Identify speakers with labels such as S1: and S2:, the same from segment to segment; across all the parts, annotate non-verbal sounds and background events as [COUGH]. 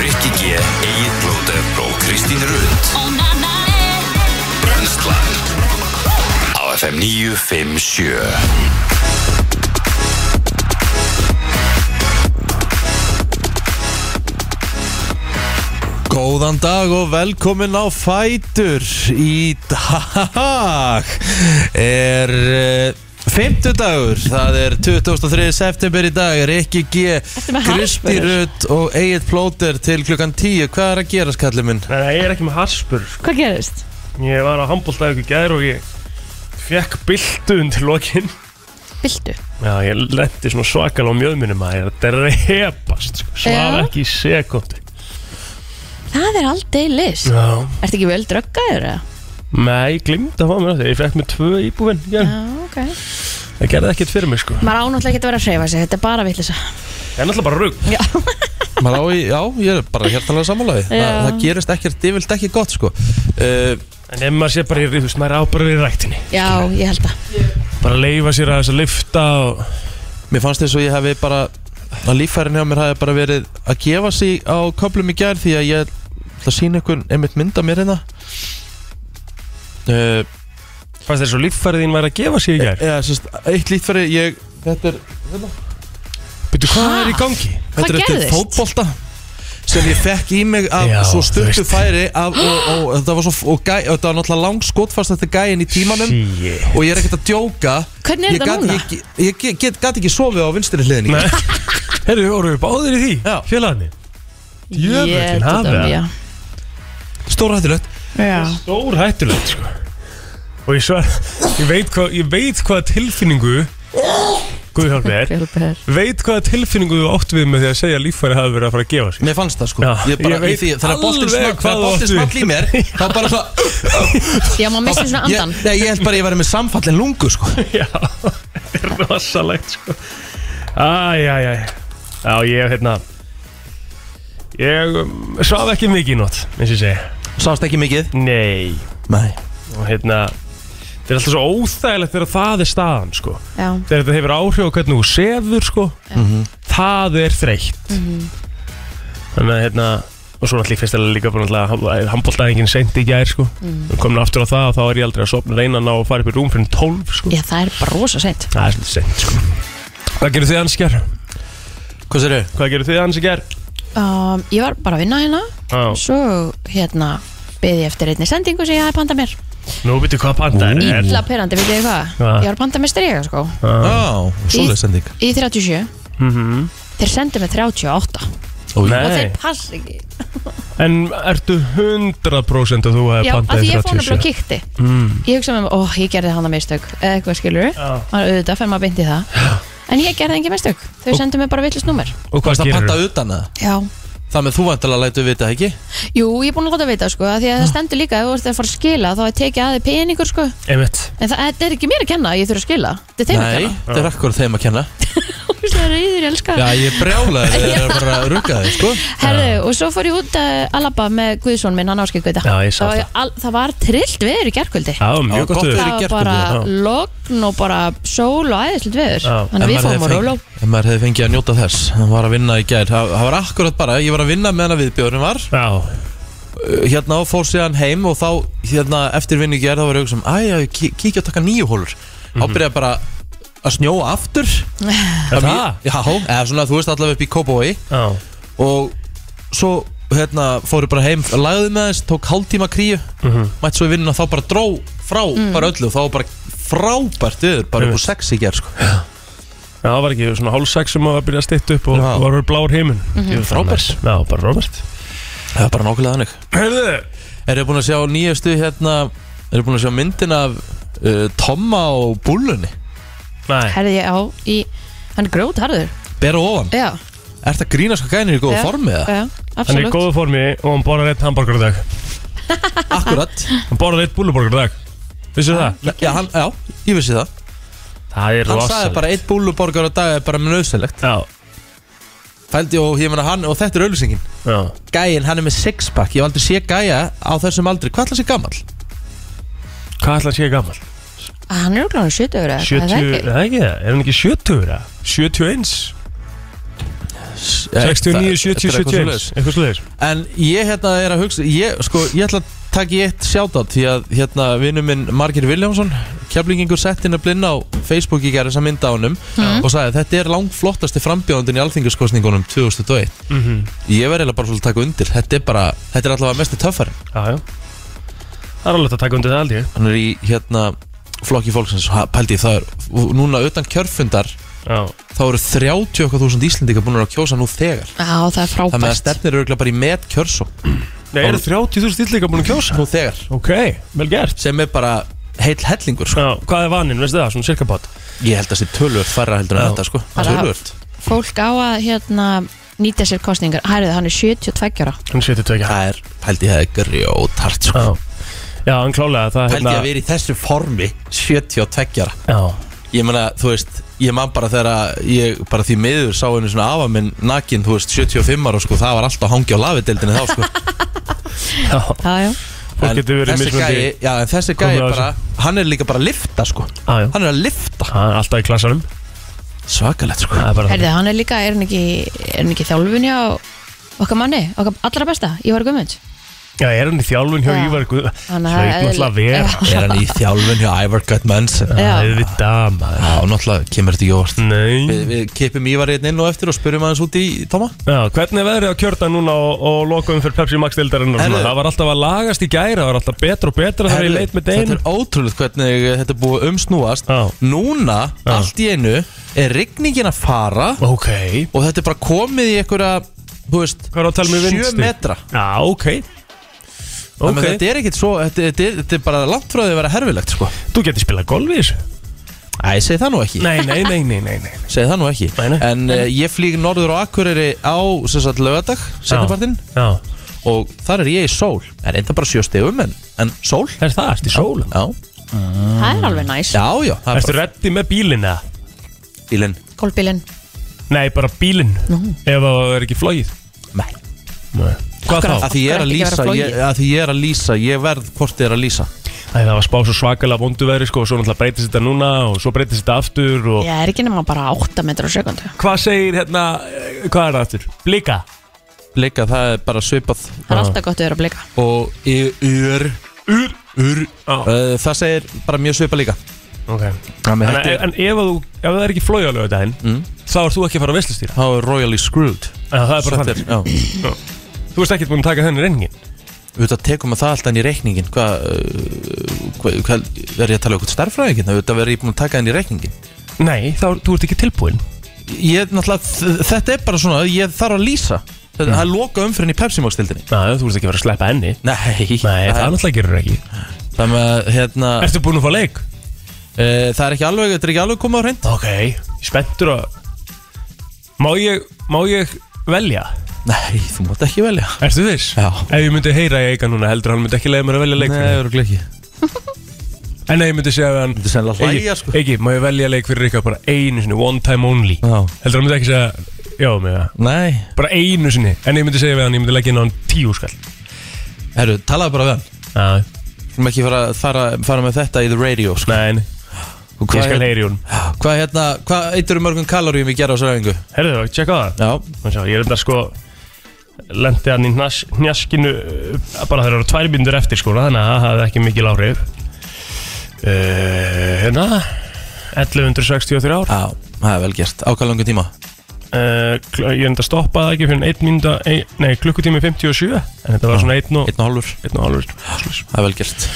S1: Rikki G, Egil Blóter og Kristín Rund Brennskland Á FM 957
S2: Góðan dag og velkomin á Fætur Í dag er uh, 50 dagur, það er 23. september í dag Rikki G,
S3: með
S2: Kristi
S3: harðspörur?
S2: Rutt og Egil Plóter til klukkan 10 Hvað er að gera skallið minn?
S4: Nei, nei, ég er ekki með harspur sko.
S3: Hvað gerist?
S4: Ég var á handbóltæðu í gær og ég fekk bildu undir lokin
S3: Viltu?
S4: Já, ég lendi svona svakal á mjöðminum að ég er að drepast sko. Svaf
S3: Já.
S4: ekki í sekundi
S3: Það er aldrei list
S4: Já
S3: Ertu ekki vel dröggaður eða?
S4: Nei, ég glimta að fá mér á því Ég fekk mér tvö íbúin
S3: Já,
S4: yeah.
S3: Ah, ok
S4: Ég gerði ekkert fyrir mig sko
S3: Maður ánáttúrulega ekki að vera að hreyfa sig, þetta er bara vittlisa
S4: Ég er náttúrulega bara rugg
S2: Maður á í, já, ég er bara hjartalega sammálaði Þa,
S3: Já.
S2: Það gerist ekkert, yfirlt ekki gott sko uh,
S4: En ef maður sé bara í ríðust, maður er ábara í ræktinni
S3: Já, ég held að
S4: Bara leifa sér að þess að lifta og...
S2: Mér fannst þess að ég hefði bara að líffærin hjá mér hefði bara verið að gefa sig á köflum í gær því að ég ætla að sína einhvern einmitt mynd af mér hérna uh,
S4: Fannst þér svo líffærið þín var að gefa sér í gær
S2: Eh, eða sérst, eitt lítfæri ég, þetta er, hérna.
S4: Býtu, hvað
S3: Ha?
S4: er í gangi?
S2: þetta er
S3: Hvað
S2: eftir
S3: gerðist?
S2: fótbolta sem ég fekk í mig af
S4: Já,
S2: svo
S4: þú
S2: stuttu
S4: veist.
S2: færi af, og, og, og þetta var svo, og gæ, og þetta var náttúrulega lang skotfast þetta gæin í tímanum
S4: Shit.
S2: og ég er ekkert að djóka
S3: Hvernig er
S2: ég
S3: þetta
S2: gat-
S3: núna?
S2: Ég, ég, ég get, gat ekki sofið á vinstri hliðinni [LAUGHS]
S4: Nei Herru, voru við báðir í því?
S2: Já.
S4: Félagarnir? Djöfullinn
S3: Ég-
S4: hafi
S3: þetta-
S4: það.
S3: já.
S2: stórhættulegt
S3: Já.
S4: Stór hættulegt sko Og ég svar Ég veit hvað, ég veit hvað tilfinningu Guð hjálp mér
S3: Hjálpi þér.
S4: Veit hvað tilfinningu þú átt við með því að segja að líffæri hafi verið að fara að gefa sig
S2: Mér fannst það sko
S4: Já,
S2: ég bara,
S4: ég
S2: ég
S4: veit
S2: því, Þegar boltinn
S4: alveg
S2: small-
S4: hvað
S2: þegar
S4: þú
S2: boltinn
S4: átt við.
S2: small í
S4: [LAUGHS]
S2: mér Þá bara svona
S3: Já, maður missi svona andan
S2: ég, Nei, ég held bara að ég væri með samfallin lungu sko
S4: Já, þetta er rosalegt sko Æj, æj, æj Já, ég hérna Ég um, svaf ekki mikið í nótt eins og ég segi
S2: Sást ekki mikið
S4: Nei
S2: Nei
S4: Og hérna Þetta er alltaf svo óþægilegt þegar það er staðan sko
S3: Já,
S4: Þegar þetta hefur áhrif á hvernig þú sefur sko
S2: Mhm.
S4: Það er þreytt Þannig að hérna Og svo náttúrulega fyrstilega líka bara náttúrulega Hamboltæðingin seint í gær sko mm. Komin aftur á það og þá er ég aldrei að sopna reyna að ná að fara upp í rúm fyrir 12 sko
S3: já það er bara rosa seint
S4: Það er svolítið seint sko Hvað gerir þið hans í gær?
S2: Hvað sér þau?
S4: Hvað gerir þið hans í gær?
S3: um, Ég var bara að vinna hérna
S4: Á,
S3: Svo hérna beði ég eftir einni sendingu sem ég hafði pantað mér
S4: nú veitu hvað panda er
S3: Ítla perandi, veit ég hvað
S4: Hvað?
S3: Ég var að panta mér strega sko
S4: ah.
S2: Á, svoleiðis sending
S3: Í 37
S4: mm
S3: Þeir sendu mig 38 Og
S4: Nei,
S3: þeir pass ekki
S4: en ertu 100% að þú hefði
S3: Já, af
S4: pandað
S3: því ég
S4: yfir
S3: fór
S4: 37?
S3: nefnilega og kíkti
S4: Mm.
S3: Ég hugsaði með, ó, ég gerði hana mistök Eða eitthvað skilur við
S4: Já.
S3: Maður auðvitað fyrir maður beint í það En ég gerði engin mistök Þau sendu mig bara villist númer
S4: Og hvað
S2: Varst að
S4: gerir
S2: panta
S4: þú?
S2: utan að
S3: Já
S2: Það með þú vantilega lætu vita ekki
S3: Jú, ég er búin að láta vita sko af Því að það stendur líka Ef þú ert að fara að skila Þá er tekið aðeins peningur sko
S4: Einmitt
S3: En það þetta er ekki mér að kenna að Ég þurf að skila Þetta er þeim að
S2: Nei,
S3: [LAUGHS] kenna
S2: það er akkur þeim að kenna
S3: Það er íður, ég elska
S2: Já, ég brjála
S3: [LAUGHS]
S2: þeir eru bara að rugga þeir sko
S3: Herðu, og svo fór ég út að alaba með Guðsson minn, hann áskil Guða
S4: Já, ég sá það.
S3: al, það var trillt veður í gerkvöldi
S4: Já, mjög gott
S2: gott
S4: við
S2: fyrir.
S3: Það
S2: í
S3: var
S2: gærkvöldi,
S3: bara
S4: já.
S3: logn og bara sól og æðislegt veður
S4: Já.
S3: Þannig að við fórum á róló
S2: En maður hefði fengið að njóta þess Hann var að vinna í gær Það það var akkurat bara Ég var að vinna meðan að viðbjörnum var
S4: Já,
S2: Uh, hérna og fór síðan heim og þá hérna eftir vinnu gerð þá var ég að hugsa um æja, ég kí- kíkja að taka nýju hólur
S4: Mhm.
S2: þá byrjaði bara að snjóa aftur
S4: er
S2: Þannig-
S4: það?
S2: Já, eða svona þú veist allavega upp í Kópói
S4: Já,
S2: og svo hérna fóru bara heim, lagði með þess tók hálftíma kríu,
S4: Mhm.
S2: mætti svo í vinnuna þá bara dró frá
S3: Mm.
S2: bara öllu þá var bara frábært viður, bara upp úr sex í gerð sko.
S4: Já, það var ekki svona hálf sex sem að byrja að stytta upp og
S2: Já.
S4: var verið blár heimin
S3: Mhm.
S2: Frábært.
S4: Já, bara Robert
S2: það var bara nákvæmlega þannig
S4: Heyrðu,
S2: Eru búin að sjá nýjastu hérna eru búin að sjá myndin af uh, Tomma og Búllunni
S4: nei,
S3: Herði ég á í, hann er grótharður
S2: Bera ofan
S3: Já,
S2: Er þetta grínast hvað gænir í góðu
S3: Já.
S2: formi eða?
S3: já,
S4: hann er í
S3: absolutt
S4: góðu formi og hann borðar eitt hambúrgar dag
S2: [LAUGHS] Akkurat Ah,
S4: Hann borðar eitt búluborgar dag Vissu það?
S2: já, hann, já, ég vissi það
S4: Það er
S2: Hann sagði
S4: rosalegt
S2: bara eitt búluborgar á dag er bara með nöðsynlegt
S4: Já,
S2: Fældi og ég meina hann og þetta er auðlýsingin
S4: já
S2: Gæin, hann er með sixpack Ég hef aldrei sé gæja á þessum aldri Hvað ætla sé gammal?
S4: Hvað ætla að sé gammal?
S3: Hann er okkur hann 70 eða eitthvað, er það
S4: 70,
S3: ekki?
S4: það er ekki það, er hann ekki 70 eða? 71 Eh,
S2: Þetta er
S4: 69, 70,
S2: eitthvað
S4: 71
S2: svoleiðis.
S4: Eitthvað sluðis
S2: En ég hérna er að hugsa Ég, sko, ég ætla að taka í eitt sjátátt Því að hérna vinnu minn Margir Viljámsson Keflingingur sett inn að blinna á Facebook í gerð þessa mynda á honum Og sagði þetta er langflottasti frambjóðandinn Í alþingaskostningunum 2001
S4: Mhm.
S2: Ég verði eiginlega bara svolítið að taka undir Þetta er bara, þetta er allavega mesti töffari
S4: Jájá Það er alveg hægt að taka undir það aldrei
S2: Hann er í hérna flokki fólksins ha, Pældi það er, núna utan kjörfundar
S4: Já
S2: Þá eru 30 okkur þúsund Íslendingar búin að kjósa nú þegar
S3: Já, það er
S2: Það með að
S3: frábært
S2: stefnir eru bara í met kjörsó
S4: Nei, eru 30.000 dýrleika búin að kjósa?
S2: Nú þegar,
S4: Ok, vel gert
S2: sem er bara heill hellingur sko.
S4: Já, hvað er vaninn, veistu það, svona cirka bát
S2: Ég held að sé tölvöld færra heldur en
S4: Já.
S2: þetta sko
S3: Bara-
S2: Tölvöld
S3: Fólk á að hérna nýta sér kostningar Hærið, hann er 72 ára
S4: Hann setur tökja
S2: Það er, pældi það er grjótart sko
S4: Já, já, hann klálega það hérna-
S2: Pældi að vera í þessu formi 72 ára
S4: Já,
S2: Ég meina, þú veist, ég man bara þegar að ég bara því miður sá einu svona afa minn nakin, þú veist, 75 ára sko, það var alltaf að hangja á lafedeldinni þá sko
S4: [LAUGHS] já
S3: Já, já,
S4: Fólk
S2: En
S4: getur verið
S2: þessi
S4: mismunandi.
S2: gæi- Já, en þessi gæi
S4: Komið á
S2: bara, hann er líka bara að lifta sko
S4: Já, já
S2: Hann er að lifta
S4: Það er alltaf í klassanum
S2: Svakalegt sko
S4: Það er bara
S3: Herði, hann er líka, er hann ekki, er hann ekki þjálfun hjá okkar manni, okkar allra besta Ívar Guðmunds
S4: Já, er hann í þjálfun hjá
S3: Já.
S4: Ívar Guð
S3: Hann
S4: Hlaut
S3: er
S4: náttúrulega að vera
S3: eðli-
S2: Er hann í þjálfun hjá Ivar Gutmanson?
S3: Já.
S4: Það er við dama
S2: Já, náttúrulega kemur þetta í óvart Við,
S4: Nei
S2: við kippum Ívar hérna inn og eftir og spurum aðeins út í Tóma
S4: Já, hvernig er veðrið á kjörda núna og, og lokum fyrir Pepsi Max deildarinn og svona?
S2: Herðu.
S4: Það var alltaf að lagast í gæra, það var alltaf betra og betra þegar ég
S2: Herðu,
S4: leit með
S2: Þetta
S4: deginum
S2: er ótrúlega hvernig þetta er búið að umsnúast
S4: Já.
S2: Núna,
S4: Já.
S2: allt í einu er rigningin að fara
S4: Ok
S2: og þetta er bara komið í einhverja þú veist,
S4: Hvað er að tala með vindstig?
S2: metra
S4: Já, ok
S2: okay.
S4: Ok,
S2: þetta er ekkit svo, þetta, þetta, er, þetta er bara langt frá því að vera herfilegt sko.
S4: þú getur spilað golf í þessu
S2: Æ, segi það nú ekki,
S4: Nei, nei, nei, nei, nei, nei.
S2: segi það nú ekki.
S4: Nei, nei.
S2: en uh, ég flýg norður á Akureyri á sem sagt, lögadag, setjapartinn
S4: Já,
S2: og þar er ég í sól, en enda bara sjöstegum en, en sól,
S4: er það, ertu í sólan?
S2: já,
S3: það er alveg næs
S2: já, já það er
S4: Ertu reddi með bílinn eða?
S2: bara bílinn,
S3: Kolbílinn,
S4: Nei, bara bílinn Ef það er ekki flóið
S2: nei
S4: Nei. Hvað
S3: Akkurat.
S4: þá?
S2: að því ég er að
S3: Ekki vera
S2: lýsa,
S3: flogið.
S2: ég, að því ég er að lýsa ég verð hvort ég er að lýsa
S4: Æ, það var spá svo svakalega vonduveðri sko, og svo náttúrulega breytist þetta núna og svo breytist þetta aftur og...
S3: ég er ekki nema bara 8 metrar á sekundu
S4: Hvað segir hérna, eh, hvað er það aftur? Blika?
S2: líka það er bara svipað
S3: Það er alltaf gott að vera að blika [LAUGHS]
S2: og í ur, ur, ur uh, það segir bara mjög svipað líka
S4: Ok
S2: Þannig
S4: En,
S2: að þetta er-
S4: en ef, að þú, ef það er ekki flóið á lögudaginn
S2: Mm.
S4: þá ert þú ekki að fara að veslustýra
S2: þá er royally screwed
S4: Það er bara
S2: Þetta
S4: þannig
S2: er- já.
S4: Þú veist ekki búin að taka þenni reyningin
S2: auðvitað tekum við það alltaf inn í reikningin hvað uh, hva, hva, er ég að tala um eitthvað starfræðingin auðvitað verður ég búin að taka inn í reikningin
S4: Nei, þá þú ert ekki tilbúin
S2: ég, náttúrulega, þ- þetta er bara svona ég þarf að lýsa þetta það er loka umfyrin í Pepsi Max-dildinni
S4: Nei, þú ert ekki að fara að sleppa henni Nei,
S2: Nei,
S4: það
S2: það,
S4: náttúrulega gerur ekki
S2: það, með, hérna, uh,
S4: Ertu búin að fá leik?
S2: það er ekki alveg þetta er ekki alveg komið á hreint
S4: Ok, ég spenntur að Má ég, má ég velja?
S2: Nei, þú mátt ekki velja
S4: Ertu viss?
S2: Já.
S4: Ef ég myndi heyra í eiga núna heldur hann myndi ekki leiða mér að velja leik fyrir
S2: örugglega ekki
S4: mig. En ef ég myndi segja við hann
S2: Þetta er sennilega að
S4: Eigi,
S2: hlæja sko
S4: Eigi, má ég velja leik fyrir ykkur bara einu sinni, one time only
S2: Já.
S4: Heldur hann myndi ekki segja, já mig það
S2: Nei
S4: Bara einu sinni, en ég myndi segja við hann, ég myndi leggja inn á hann tíu skall
S2: Herru, talaðu bara við hann
S4: Já,
S2: Við erum ekki fara, fara, fara með þetta í the radio sko
S4: nein,
S2: Og
S4: ég skal
S2: Hvað
S4: heyra í hún
S2: hva, hérna, hva eittur mörgum kaloríum ég gera á sræðingu?
S4: Herðu það, tjekka það
S2: Já
S4: Þannig að ég er þetta sko Lendi hann í hnas, njaskinu uh, Bara þeir eru tvær bindur eftir sko Þannig að það hafði ekki mikil áhrif uh, Hérna 1163 ár uh,
S2: Já, það er vel gert Á hvað langan tíma?
S4: kl- Ég er enda að stoppa það ekki fyrir en 1 minúta ein, Nei, klukkutími 57 En þetta var svona 1 og
S2: Einn og hálfur
S4: 1 og hálfur
S2: Það er vel gert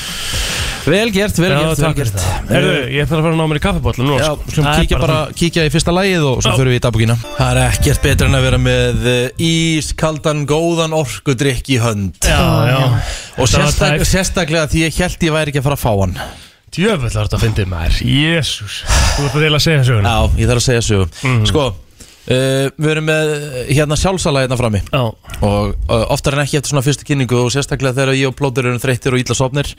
S2: Vel gert, vel gert, vel gert Eh,
S4: Herðu, ég þarf að fara að ná mér í kaffibotla nú
S2: Já,
S4: sko.
S2: slum
S4: Það er
S2: kíkja bara, kíkja í fyrsta lagið og svo
S4: Já.
S2: förum við í dagbúkina Það er ekkert betra en að vera með eh, ískaldan góðan orkudrykk í hönd
S4: þannig. Já, já
S2: Og
S4: Þetta var
S2: sérstak,
S4: tæpt.
S2: sérstaklega því ég held ég væri ekki að fara að fá hann
S4: Djöfull var þetta að fyndið maður Jésús Þú ert að deila að segja söguna Mhm.
S2: Já, ég þarf að segja sögum Sko, uh, við erum með eh, hérna sjálfsala hérna frammi
S4: Já
S2: og uh, oftar en ekki eftir svona fyrstu kynningu og sérstaklega þegar ég og plótur erum þreyttir og illa sopnir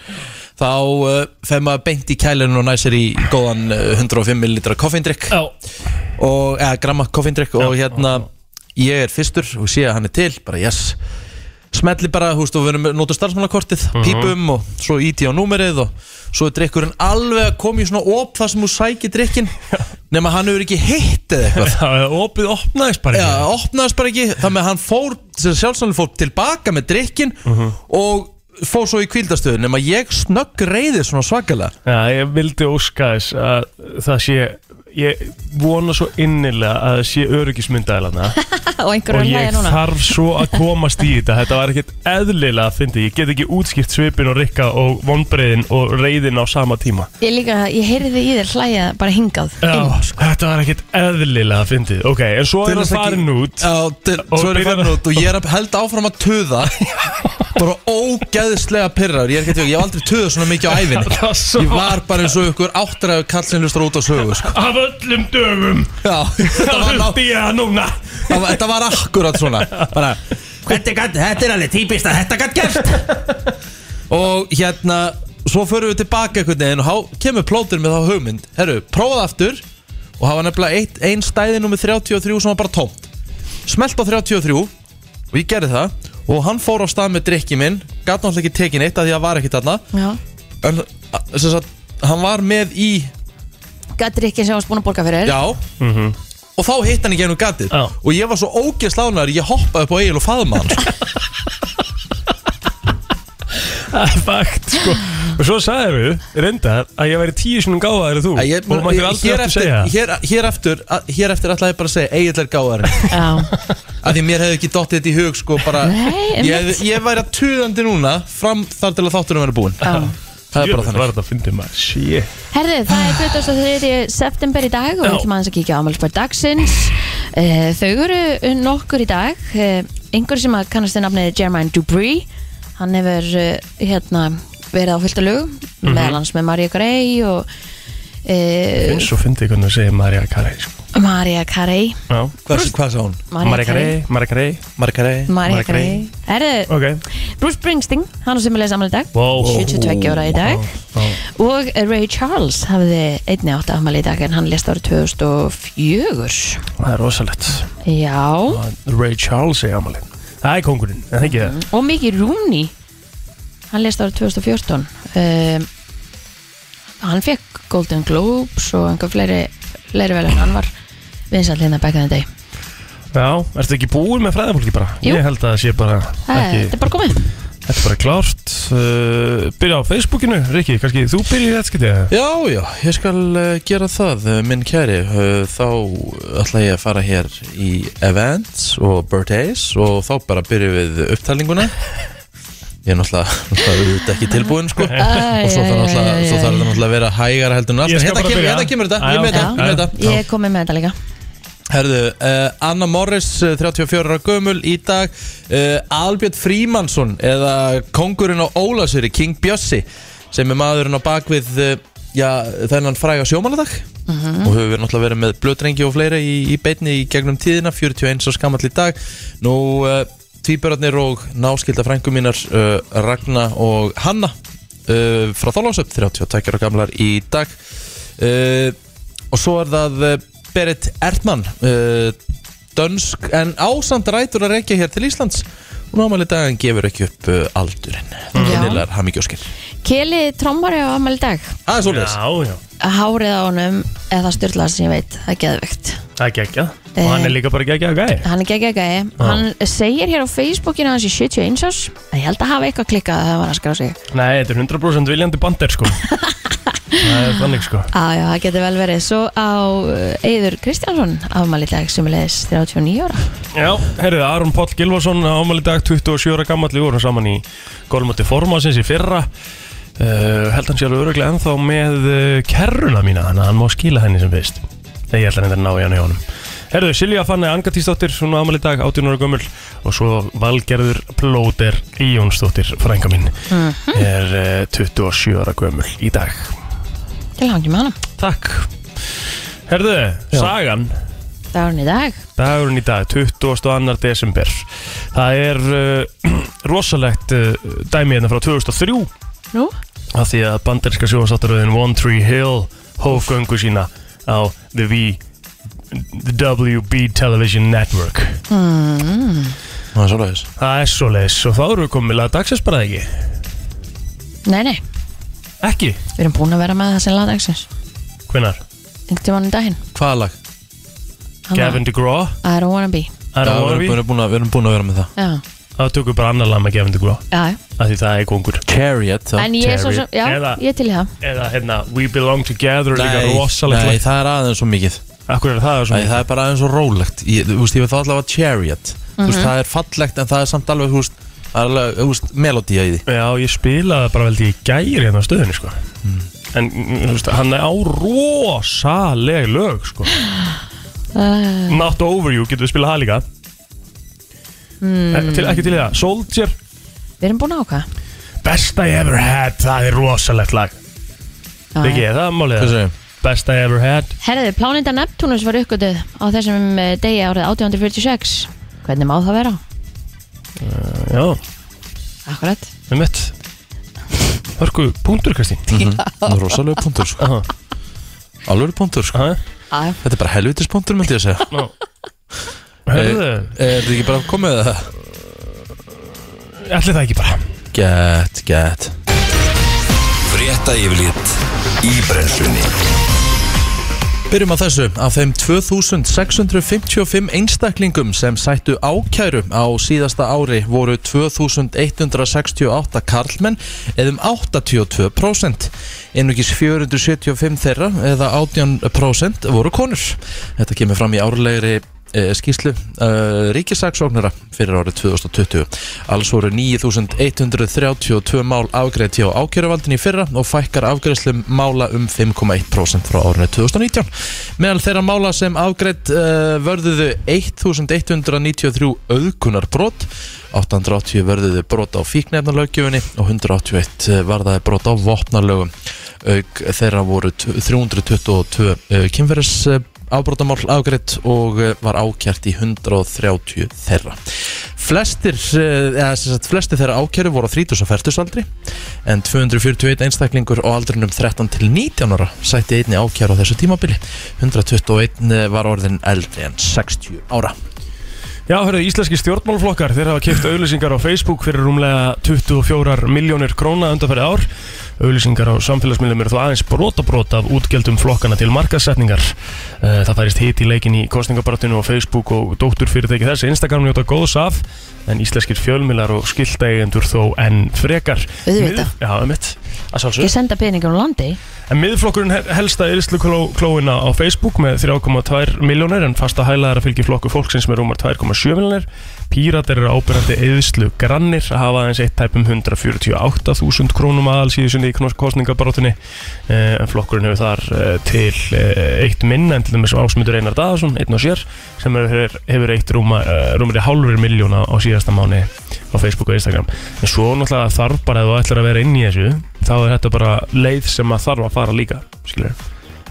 S2: þá uh, fer maður beint í kælinu og næsir í góðan uh, 105 ml koffeindrykk
S4: Já
S2: og, eða gramma koffeindrykk og hérna ég er fyrstur og sé að hann er til bara yes smelli bara, húst, og við erum nota starfsmannakortið,
S4: Mhm.
S2: pípum og svo íti á númerið og svo er drikkurinn alveg að koma í svona op þar sem þú sækir
S4: [LAUGHS]
S2: drikkin nema hann hefur ekki hitt eða eitthvað
S4: Það er opið opnaðist bara
S2: Já,
S4: ekki
S2: opnaðist bara ekki, þannig að hann fór sjálfsvælinn fór tilbaka með drikkin
S5: Mhm.
S2: og fór svo í kvíldastöðu nema ég snögg reyði svona svakalega
S4: Já, ég vildi óska þess að það sé Ég vona svo innilega að það sé
S3: [LAUGHS]
S4: öryggismyndaðilana
S3: og einhverjum
S4: og
S3: hlæði
S4: ég
S3: núna
S4: þarf svo að komast í þetta Þetta var ekkert eðlilega að fyndi Ég get ekki útskýrt svipin og rikka og vonbreiðin og reyðin á sama tíma
S3: Ég líka, ég heyrði í þér hlæja bara hingað
S4: Já,
S3: inn.
S4: þetta var ekkert eðlilega að fyndi Ok, en svo
S2: Til
S4: er
S2: þess að
S4: það
S2: ekki-
S4: farin út
S2: Já, til,
S4: Og
S2: svo er ég
S4: byrjar
S2: farin
S4: að-
S2: út og ég er að held áfram að
S4: [LAUGHS]
S2: töða bara ógeðslega pyrrar ég, er ekki að djóka, ég hef aldrei töða svona mikið á ævinni
S4: Það svo
S2: ég var bara eins og ykkur áttræðu kallin hlustur út á sögu sko.
S4: Af öllum dögum
S2: Já, þetta
S4: [LAUGHS] Það
S2: var, ná,
S4: þurfti ég að núna
S2: það var, þetta var akkurat svona bara, þetta, gat, þetta er alveg típist að þetta gætt gert [LAUGHS] og hérna svo förum við tilbaka einhvern veginn og há, kemur plótir með þá hugmynd herru, prófað aftur og hafa nefnilega eitt, ein stæði nummer 33 sem var bara tómt smelt á 33 og ég gerði það og hann fór á stað með drikki minn gæti náttúrulega ekki tekin eitt af því að það var ekkert þarna
S3: Já,
S2: en a- sem sagt, hann var með í
S3: gætir ekki sem varst búin að borga fyrir
S2: Já Og þá hitt hann í genum gatið
S4: Mhm. Já.
S2: Og ég var svo ógeðslánar Ég hoppaði upp á Egil og faðma hann sko.
S4: [LAUGHS] Það er fakt sko Og svo sagði við reyndar að ég væri tíu sinum gáðaðir þú
S2: ég,
S4: Og maður er aldrei
S2: hér,
S4: aftur að
S2: eftir,
S4: segja það.
S2: hér, hér eftir að- Hér eftir ætlaði ég bara að segja Egil er gáðarinn
S4: [LAUGHS]
S3: Já,
S2: Af því mér hefði ekki dottið þetta í hug sko, bara,
S3: Nei,
S2: ég,
S3: einmitt.
S2: hefði- ég væri að tuðandi núna Fram þar til að þátturum verið búin
S3: já
S2: Það er bara
S4: Jöfull,
S2: þannig
S4: Var þetta að fyndi maður Shit
S3: Herðu, það er 23. september í dag og við
S4: Já.
S3: ætlum aðeins að kíkja á ámælspær dagsins. Eh, Þau eru nokkur í dag. Eh, Einhver sem að kannast þið nafnið Jermaine Dubry, hann hefur eh, hérna, verið á fylgta lögum,
S4: Mhm.
S3: meðal hans með Maria Grey og uh,
S4: Eins og fyndi hvernig að segja Marja Karei sko.
S3: Maria Carey.
S4: Já
S2: Hvað, hvað sá hún?
S4: Marja Karei Marja Karei
S2: Margarei
S3: Maria
S4: Mariah
S3: Carey. Herðu,
S4: Ok
S3: Bruce Springsteen, hann er sem er leið samanlega dag.
S4: Wow
S3: 72 ára í dag og Ray Charles hafði einni átt afmæli í dag en hann lést árið 2004
S4: Það er rosalegt
S3: Já,
S4: Ray Charles er amalinn Það er kongurinn En það ekki það
S3: og Mickey Rooney hann lest árið 2014 um, hann fekk Golden Globes og einhver fleiri, fleiri vel en hann var vinsall hérna back in the day
S4: Já, ertu ekki búin með fræðafólki bara?
S3: Jú.
S4: Ég held að það sé bara
S3: Það er- Eh, þetta
S4: ekki,
S3: er bara komið
S4: þetta er bara klárt uh, Byrja á Facebookinu, Rikki, kannski þú byrja í þetta skiptið eða?
S2: Já, já, ég skal uh, gera það, uh, minn kæri uh, Þá ætla ég að fara hér í events og birthdays og þá bara byrjum við upptalninguna Ég er náttúrulega, náttúrulega auðvitað ekki tilbúinn sko
S3: Æ,
S2: Og svo þarf
S3: æ,
S2: náttúrulega,
S3: æ, æ,
S2: svo þarf
S3: æ.
S2: þetta náttúrulega að vera hægara heldur en allt
S4: Ég
S2: En Hérna
S4: skal bara
S2: kemur,
S4: byrja.
S2: hérna kemur þetta,
S4: Já,
S2: ég með
S4: ok.
S2: þetta, ég
S4: Já.
S2: með þetta
S3: ég er komið með þetta líka
S2: Herðu, uh, Anna Morris, uh, 34 ára gömul í dag uh, Albjörn Frímansson eða kongurinn á Ólasuri, King Bjössi sem er maðurinn á bakvið uh, já, þennan fræga sjómanadag
S3: Mhm.
S2: og hefur náttúrulega verið með blödrengi og fleira í, í beinni í gegnum tíðina 41 og skamall í dag Nú, uh, tvíbörarnir og náskilda frængum mínar uh, Ragna og Hanna uh, frá Þólásöp, 32 ára gamlar í dag uh, Og svo er það eh, Berit Erdmann uh, Dönsk en ásamt rætur að rekja hér til Íslands og námæli dagan gefur ekki upp uh, aldurinn
S4: Mm.
S3: Já.
S2: Innilegar hamingjóskir
S3: Keli Trommari á afmæli í dag
S2: Það er svolítið
S4: Já, já,
S3: hárið á honum eða það styrlaðar sem ég veit það er geðvögt
S4: það er geggja
S3: Eh.
S4: Og hann er líka bara geggja að gæja
S3: hann er geggja gæi hann segir hér á Facebookinu hans í 71 árs að ég held að hafa eitthvað klikkað að það var að skrá sig
S4: Nei, þetta er 100% viljandi bander
S3: [LAUGHS]
S4: sko Það er þannig sko
S3: Já, já, það getur vel verið. Svo á uh, Eyður Kristjánsson afmæli í dag sem er leiðis 39 ára.
S4: Já, herriði, Aron Páll Gilvason ámæli dag 27 ára gamall við vorum saman í golfmóti formasins í fyrra uh, held hann sér öruglega ennþá með uh, kerruna mína þannig að hann má skila henni sem fyrst þegar ég ætla henni að ná í hann í honum Herðu, Silja Fanni Angatísdóttir, hún á ámæli dag 18 ára gömul og svo Valgerður Plóter Íjónsdóttir, frænga mín er uh, 27 ára gömul í dag
S3: Til hangi með hana.
S4: Takk Herðu, Sagan
S3: Það var hann í dag.
S4: Dagurinn í dag, 22. desember Það er uh, [CLEARS THROAT] rosalegt uh, dæmi hérna frá 2003
S3: Nú?
S4: af því að banderska sjóðsáttaröðin One Tree Hill hóf göngu sína á
S3: Hmm.
S4: The V The WB Television Network mm.
S2: það er svolítið
S4: Það er svoleiðis og þá eru við komið með lag dagsins bara eða ekki
S3: Nei, nei,
S4: Ekki?
S3: við erum búin að vera með það sem lagdagsins
S4: Hvenar?
S3: Einhvern tímann í daginn
S2: Hvaða lag?
S3: Hann
S4: Gavin DeGraw
S3: var- I don't wanna be
S4: Það er
S2: Já,
S4: að
S2: við
S4: voru
S2: erum
S4: við
S2: búin að- búin að- við erum búin að vera með það
S3: Já,
S4: Það tökum við bara annar lag með Gavin DeGraw
S3: já, já.
S4: af Því það er kongur
S2: Chariot þá.
S3: En ég er svo sem, já,
S4: Eða-
S3: ég er til í það
S4: Eða hérna We Belong Together er líka
S2: Nei,
S4: rosalegt
S2: nei,
S4: lag
S2: það er aðeins svo mikið
S4: Akkur er það
S2: Nei,
S4: svona
S2: það er bara aðeins svo rólegt Ég- Þú veist, ég veit þá allavega Chariot Þú veist, það er fallegt en það er samt alveg, þú veist Það er alveg, þú veist, melodía í því
S4: Já, ég spilaði það bara veldi í gæri hérna á stöðunni sko En mm, þú veist, hann er á rosaleg lög
S2: [GASPS]
S4: sko Not Over You, getum við spilað það líka mm. til, Ekki til í það Soldier,
S3: Við erum búin að ákvæða
S4: Best I Ever Had Það er rosalegt lag Viki, er það málið
S2: Hvað
S4: það?
S2: segir?
S4: Best I Ever Had
S3: Herðið, pláninda Neptunus var uppgötuð á þessum eh, degi árið 1846 Hvernig má það vera?
S4: eh, Já,
S3: Akkurat
S4: með mitt Hörku, punktur
S2: [LAUGHS]
S4: Kristín
S2: Mhm. Rósalega punktur, sko
S4: Aha.
S2: Alveg punktur, sko
S4: Aha,
S3: Já,
S2: Þetta er bara helvitis punktur, myndi ég að segja Eh,
S4: nú. Hörðu,
S2: Er þetta ekki bara komið að það?
S4: ætli það ekki bara
S2: Get, get
S1: Frétta yfirlit í brennslunni
S2: Byrjum á þessu. Af þeim 2655 einstaklingum sem sættu ákæru á síðasta ári voru 2168 karlmenn eða um 82%. Einugis 475 þeirra eða 18% voru konur. Þetta kemur fram í árlegri eh, skýslu uh, ríkisaksóknara fyrir árið 2020. Alls voru 9.132 mál afgreitt hjá ákjöruvaldin í fyrra og fækkar afgreiðslum mála um 5,1% frá árinu 2019. Meðal þeirra mála sem afgreitt uh, vörðuðu 1.193 auðkunar brot, 880 vörðuðu brot á fíknefnarlögjöfunni og 181 varðaði brot á vopnarlögum. Auk þeirra voru 322 uh, kynferðis afbrotamál afgreitt og eh, var ákjært í 130 þeirra flestir, eh, eða, sem sagt, flestir þeirra ákjæru voru á 30 og færtusaldri en 241 einstaklingur á aldrinum 13 til 19 ára sætti einni ákjæru á þessu tímabili 121 eh, var orðin eldri en 60 ára
S4: Já, hörðu, íslenski stjórnmálflokkar, þeir hafa keift auðlýsingar á Facebook fyrir rúmlega 24 miljónir króna undanfæri ár. Auðlýsingar á samfélagsmiðlum eru þó aðeins brotabrot af útgjöldum flokkana til markasetningar. Það færist hit í leikin í kostningabaratinu og Facebook og dótturfyrirtæki þess. Instagram njóta góðs af, en íslenskir fjölmiðlar og skiltægjendur þó enn frekar.
S3: Auðvitað.
S4: Mið- Já, um mitt. Að sjálfsögðu.
S3: ég senda peningur um landi
S4: En miðflokkurinn he- helsta yðsluklóina á Facebook með 3,2 miljónir en fasta hælaðara fylgir flokku fólksins með rúmar 2,7 miljónir. Píratar eru ábyrjandi yðslu grannir að hafa aðeins eitt um tæpum 148.000 krónum aðal síðusundi í knos- kosningabarátunni Eh, en flokkurinn hefur þar eh, til eh, eitt minn en til þess að ásmundur Einar Daðarsson, einn og sér sem hefur, hefur eitt rúma, eh, rúmri hálfur miljóna á síðasta mánu á Facebook og Instagram en svo náttúrulega þarf bara ef þú ætlar að vera inn í þessu þá er þetta bara leið sem að þarf að fara líka skilur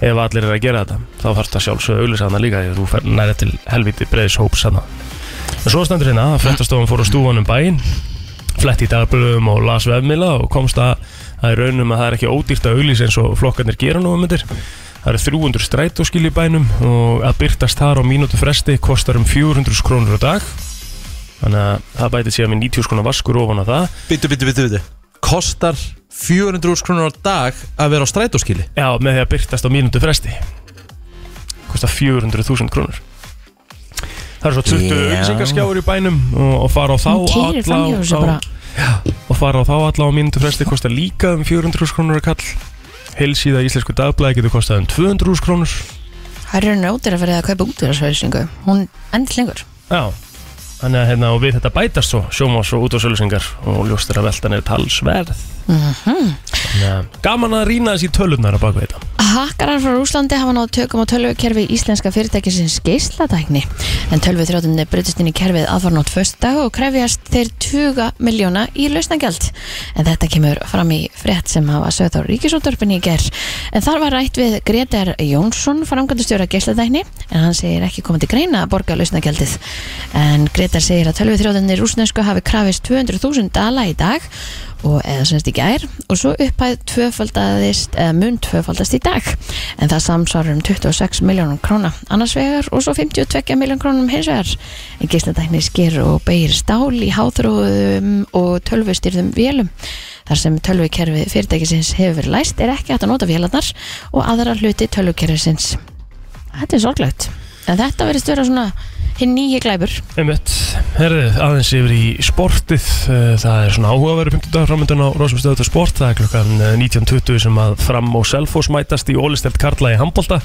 S4: ef allir er að gera þetta þá þarf þetta sjálfsögðu auðlýsa hana líka því að þú fer nærið til helviti breiðis hóps hana en svo stendur hérna að fréttastofan fór á stúan um bæinn flett í dagblöðum og las vefmila og komst að það er raunum að það er ekki ódýrt að auglýsa eins og flokkarnir gera nú um myndir það eru 300 strætóskil í bænum og að byrtast þar á mínútu fresti kostar um 400 krónur á dag þannig að það bætið síðan með 90 skrónar vaskur ofan á það
S2: Bitu, bitu, bitu, bitu Kostar 400 úr krónur á dag að vera á strætóskili
S4: já, með því að byrtast á mínútu fresti kostar 400.000 krónur það eru svo 20
S2: Já.
S4: auglýsingarskjáður í bænum og, og fara á þá
S3: Hún keyrir
S4: alla
S3: framhjá þessu
S4: á-
S3: bara
S4: og fara á þá alla á mínútu fresti kostar líka um 400 krónur að kall heilsíða í íslensku dagblæði getur kostað um 200 krónur
S3: Það eru njóttir að fyrir að kaupa útverðarsvælsingu Hún endist lengur
S4: já þannig að hérna og við þetta bætast svo sjómas og útvarsölusingar og ljóst er að veltan er talsverð þannig að gaman að rýna þessi tölurnar að baka þetta
S3: Hakkarar frá Rúslandi hafa náð tökum á tölvukerfi íslenska fyrirtækisins geislatækni en tölvuþrjóðunni breytist inn í kerfið aðfarnótt föstudag og krefjast þeir 20 miljóna í lausnagjald en þetta kemur fram í frétt sem hafa sögð á ríkisúttorpinni í ger en þar var rætt við Gretar Jónsson framkvæmdastjóra geislatækni en hann segir ekki komið til greina að borga lausnagjaldið en Gretar segir að tölvuþrjóðunni rúsnesku hafi krafist 200.000 dala í dag og eða semst í gær og svo upphæð tvöfaldaðist eða mun tvöfaldast í dag en það samsvarar um 26 miljónum króna annars vegar og svo 52 miljón krónum hins vegar en gíslatækni sker og beir stál í háþróðum og tölvustýrðum vélum Þar sem tölvukerfi fyrirtækisins hefur verið læst er ekki hægt að nota vélarnar og aðra hluti tölvukerfisins. Þetta er sorglegt. En þetta verðist vera svona hinn nýji glæbur.
S4: Einmitt, herðu, aðeins yfir í sportið Eh, Það er svona áhugaveru 50 dagar framöndan á Rósum stöðu til sport Það er klukkan eh, 19.20 sem að fram og Selfoss mætast í ólistelt Karla í handbolta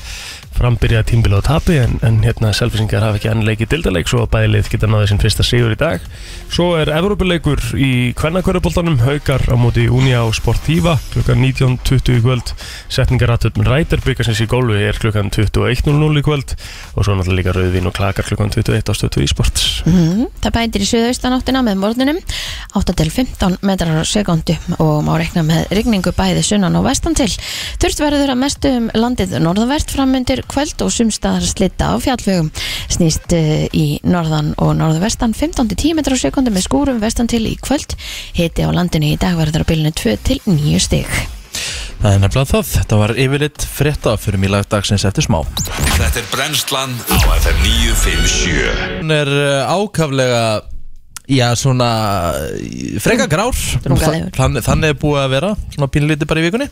S4: Fram byrjaði tímbil á tapi en, en hérna Selfossingar hafa ekki enn leikið dildaleik Svo að bæði lið geta náðið sinn fyrsta sigur í dag Svo er Evrópuleikur í kvennakörðuboltanum Haukar á móti Unia og Sportiva klukkan 19.20 í kvöld Setningar aðtöfn Ræder byggasins í gólfi er klukkan 21.00 í kvöld og svo náttúrulega líka rauðvin og klakar klukkan 21 á stötu í sports
S3: Mm, það bætir í suðaustanáttina með morgunum 8-15 metrar á sekundu og má rekna með rigningu bæði sunnan og vestan til. Þurft verður að mestu um landið norðanvert framundir kvöld og sumstaðar slitta á fjallvegum. Snýst eh, í norðan og norðvestan 15-10 metrar á sekundu með skúrum vestan til í kvöld. Hiti á landinu í dag verður á bylunu 2-9 stig.
S2: Það er nefnilega það, þetta var yfirleitt frétta fyrir mig lagdagsins eftir smá
S1: Þetta er brennslan á FM 957
S2: Hún er uh, ákaflega Já, svona uh, freka grár
S3: Drungalegur.
S2: Þann, Þannig er búið að vera Svona pínlítið bara í vikunni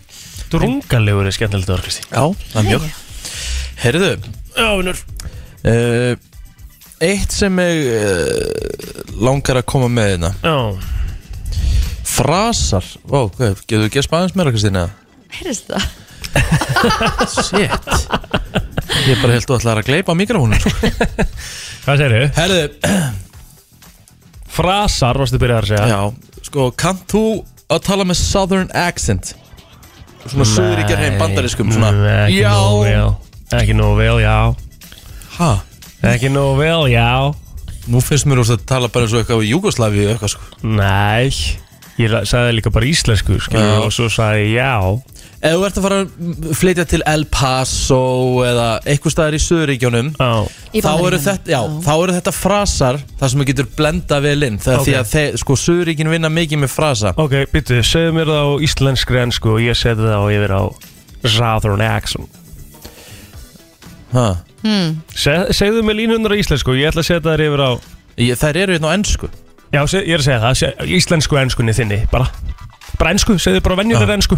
S4: Drungalegur er skemmtilegt orð, Kristi
S2: Já, það er mjög Herðu
S4: Já, vinnur
S2: uh, Eitt sem ég uh, langar að koma með hérna
S4: Já,
S2: Frasar Ó, hvað, getur þú gert aðeins meira, Kristín? eða?
S3: Heyrðist það?
S2: Shit Ég bara held þú ætlar að gleypa sko. mikrofónum
S4: hvað segirðu?
S2: Herðu,
S4: [CLEARS THROAT] Frasar, varstu byrjað að segja
S2: já, sko, kannt þú að tala með southern accent? Svona
S4: Nei.
S2: söguríkjar heim bandariskum svona
S4: Nei, Ekki nógu
S2: Já,
S4: vel Ekki nógu vel, já
S2: hæ?
S4: Ekki nógu vel, já
S2: Nú finnst mér úr að tala bara eins og eitthvað í Júgoslavi eitthvað sko
S4: Nei Ég la- sagði líka bara íslensku,
S2: Já.
S4: skilur Og svo sagði ég já
S2: Ef þú ert að fara að flytja til El Paso eða eitthvað staðar í söguríkjunum
S4: Já,
S3: Í
S2: Þá eru,
S3: Bandaríkjunum.
S2: þetta, já, þá eru þetta frasar þar sem þú getur blenda vel inn það er
S4: Ok.
S2: því að þeir, sko, Suðuríkin vinna mikið með frasa
S4: ok, byttu, segðu mér það á íslenskri ennsku Og ég seti það á yfir á Southern accent
S2: ha.
S3: Hmm.
S4: Se, Segðu mér línunar á íslensku Ég ætla að setja það yfir á
S2: Ég- Þær eru hérna á ennsku
S4: Já, se- ég er að segja það, se- íslensku enskunni þinni, bara Bara ensku, segðu bara venjulega ensku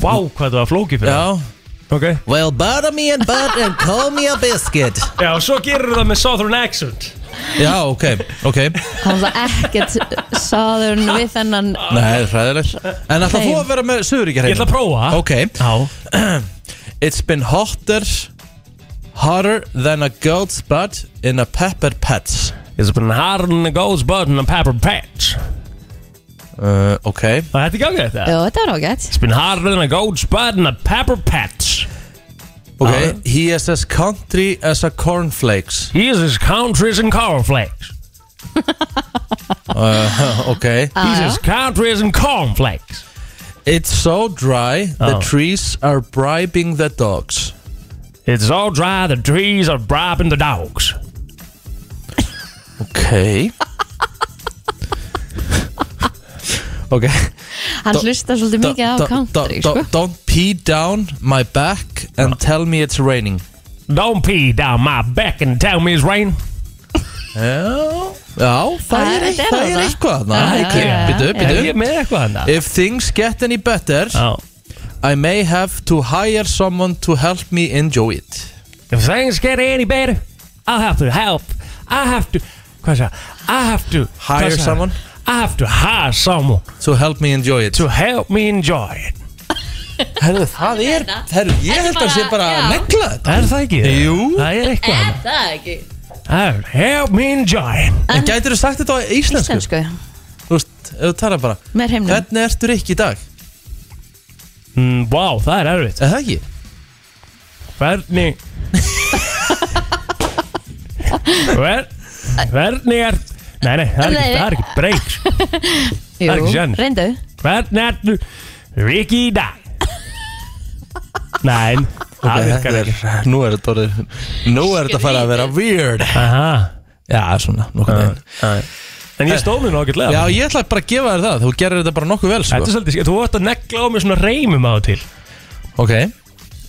S4: Vá, hvað það var flókið
S2: Já
S4: fyrir það Ok
S2: Well, butter me and butter and call me a biscuit
S4: Já, og svo gerur það með Southern accent
S2: Já, ok, ok
S3: Það var ekkert sáðurinn við þennan
S2: Nei, hræðilegt En ætla þú að vera með Suðuríkja
S4: Ég ætla að prófa
S2: Ok
S4: Já,
S2: [CLEARS THROAT] It's been hotter Hotter than a goat's butt in a pepper patch
S4: it's been hard and it goes button and pepper patch
S2: uh, Ok
S4: Það hætti gangið þetta
S3: Jó, þetta var ágætt.
S4: It's been hard and it goes button and pepper patch
S2: Ok
S4: Já.
S2: Uh, He is as country as a cornflakes
S4: He is as country as in
S2: [LAUGHS]
S4: cornflakes
S2: Uh, Ok
S4: He is as country as in cornflakes
S2: It's so dry, the
S4: Oh.
S2: trees are bribing the dogs.
S4: It's so dry the trees are bribing the dogs
S2: Ok. ok.
S3: Hann hlustar svolítið
S2: Do-
S3: mikið á
S2: do-
S3: country,
S2: do-
S3: sko.
S2: do- Don't pee down my back and tell me it's raining.
S4: Don't pee down my back and tell me it's rain
S2: Já, já það
S3: Það
S2: er
S3: er-
S2: eitt-
S3: þetta er
S2: það er
S3: þarna.
S2: eitthvað. þarna.
S3: Já,
S2: Ok,
S4: já,
S2: Bíddu,
S4: Er ég
S2: bíddu.
S4: með eitthvað hann
S2: If things get any better,
S4: Já
S2: I may have to hire someone to help me enjoy it.
S4: If things get any better, I'll have to help. I have to, hvað segja, I have to
S2: Hire
S4: hvað sagði-
S2: someone?
S4: I have to hire someone
S2: To help me enjoy it.
S4: to help me enjoy it.
S2: Herðu, það er, herðu, ég held að sé bara að negla þetta.
S4: Er það ekki?
S2: Jú.
S4: Það er eitthvað. Er það ekki? help me enjoy it.
S2: En gætir þú sagt þetta á íslensku?
S3: Íslensku.
S2: Þú veist, ef þú talar bara
S3: Með hreimnum.
S2: Hvernig ertu Rikki í dag?
S4: Mm, Vá, það er erfitt.
S2: Er það ekki?
S4: Hvernig... Hver, hvernig er... Nei, nei, það er ekki,
S3: Nei.
S4: það er ekki breyk. sko.
S3: Jú,
S4: er ekki séns.
S3: reyndu
S4: Hvernig ertu Rikki í dag? Nei, það virkar ekki.
S2: er, nú er þetta orðið Nú er þetta að fara að vera weird
S4: Aha.
S2: Já, svona, nokkuð
S4: Já,
S2: einn
S4: já. En ég stóð mér nú ágætlega
S2: Já, ég ætla bara að gefa þér það, þú gerir þetta bara nokkuð vel
S4: Þetta
S2: sko.
S4: er svolítið, þú vart að negla á mig svona reymum á og til
S2: Ok,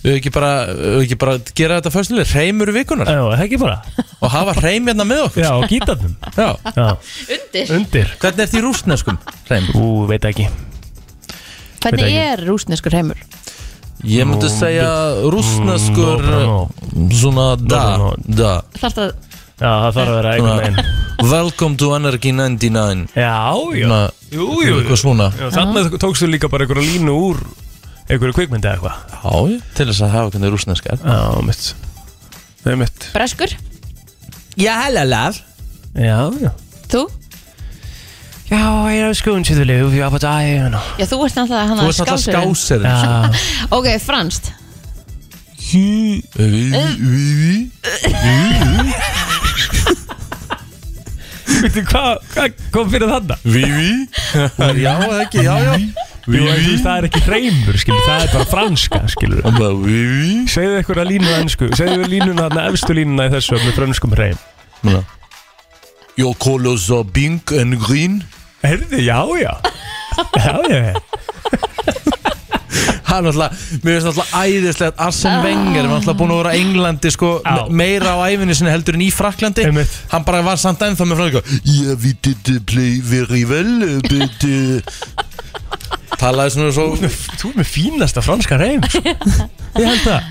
S2: við ekki bara, við ekki bara gera þetta föstuleg, reymur vikunar
S4: Já, er það ekki bara
S2: og hafa reym hérna með okkur
S4: Já, og gítarnum
S2: Já.
S4: Já,
S3: Undir
S4: undir
S2: Hvernig ert í rúsneskum reym?
S4: Ú, veit ekki Veit
S3: Hvernig
S4: ekki.
S3: er rúsneskur heimur?
S2: Ég myndi segja rúsneskur
S4: Mm, no,
S2: svona da,
S4: no,
S2: da
S3: Þarf það
S4: Já, það þarf að vera einhvern veginn
S2: Welcome to Energy 99
S4: Já, já
S2: Svona-
S4: Jú, jú, jú
S2: Eitthvað svona
S4: Já, Þarna tókstu líka bara einhverja línu úr einhverju kvikmyndi eða eitthvað
S2: Já, ég- til þess að hafa hvernig rúsneska er
S4: Já, mitt Það er mitt
S3: breskur?
S2: Já, hella laf
S4: Já, já
S3: Þú?
S4: Já, ég er skoðun sér til líf, já, bara dæ
S3: Já, þú ert náttúrulega hann
S2: Þú
S3: að
S2: ert alltaf
S3: skásur
S2: skásir
S4: Já,
S3: Ok, franskt
S4: veitu hvað hva kom fyrir þarna?
S2: Vivi [LAUGHS] Já, ekki, já, já
S4: Jú, en þú veist, það er ekki hreimur, skilur, það er bara franska, skilur
S2: Hún bara, Vivi
S4: Segðu einhverja línu á ennsku, segðu línuna þarna, efstu línuna í þessu með franskum hreim
S2: [LAUGHS] Núna Your colors are pink and green
S4: Herði, já, já Já, já,
S2: Hann er alltaf, mér finnst alltaf æðislegt Arsene Wenger, hann er alltaf búin að vera á Englandi sko,
S4: Já.
S2: me- meira á æfinni sinni heldur en í Fraklandi
S4: Einmitt.
S2: Hann bara var samt ennþá með frá Yeah, we did uh, play very well uh, but, uh, Talaði svona svo
S4: Þú er með fínasta franska hreim sko. Ég held það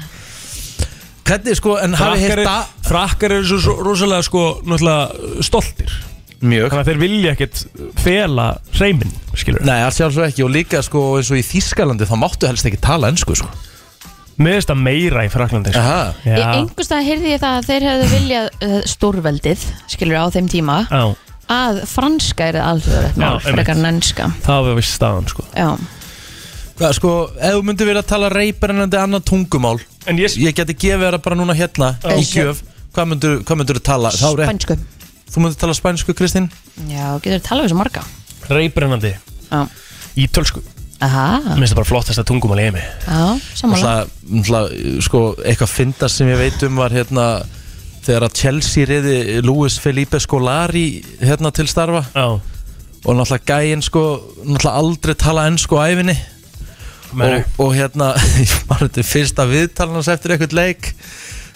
S2: Hvernig sko, en hafi
S4: Frakkar,
S2: heyrt
S4: er,
S2: að
S4: frakkar eru svo rosalega sko náttúrulega stoltir
S2: Mjög
S4: Þannig að þeir vilja ekkert fela hreiminn, skilur
S2: Nei, að sjálfsög ekki og líka sko eins og í Þískalandi þá máttu helst ekki tala ennsku sko
S4: Mér finnst það meira í Fraklandi sko.
S2: Aha.
S3: Í
S4: Já,
S3: einhvers stað heyrði ég það að þeir hefðu viljað uh, stórveldið, skilur á þeim tíma
S4: já,
S3: að franska er alþjóðrætt
S4: Já,
S3: mál,
S4: einmitt.
S3: frekar en ennska
S4: það var vist staðan sko
S3: Já,
S2: Hvað, sko, ef þú myndir vera að tala reybrennandi annað tungumál
S4: En ég,
S2: Ég geti gefið þér það bara núna hérna
S4: Já.
S2: í gjöf Hvað myndir, hvað myndir þú tala? Þá er
S3: spænsku
S2: Þú myndir tala spænsku, Kristín?
S3: Já, getur talað við svo marga
S4: reybrennandi
S3: Já,
S4: Ítölsku,
S3: aha,
S4: mér finnst það bara flottasta tungumál í heimi
S3: já, sammála
S2: Það, það, sko, eitthvað fyndast sem ég veit um var hérna Þegar að Chelsea reyði Luis Felipe Scolari hérna til starfa
S4: Já,
S2: Og náttúrulega gæinn sko, náttúrulega aldrei tala ennsku á æfinni og, og hérna, [LAUGHS] ég var þetta fyrsta viðtalans eftir eitthvað leik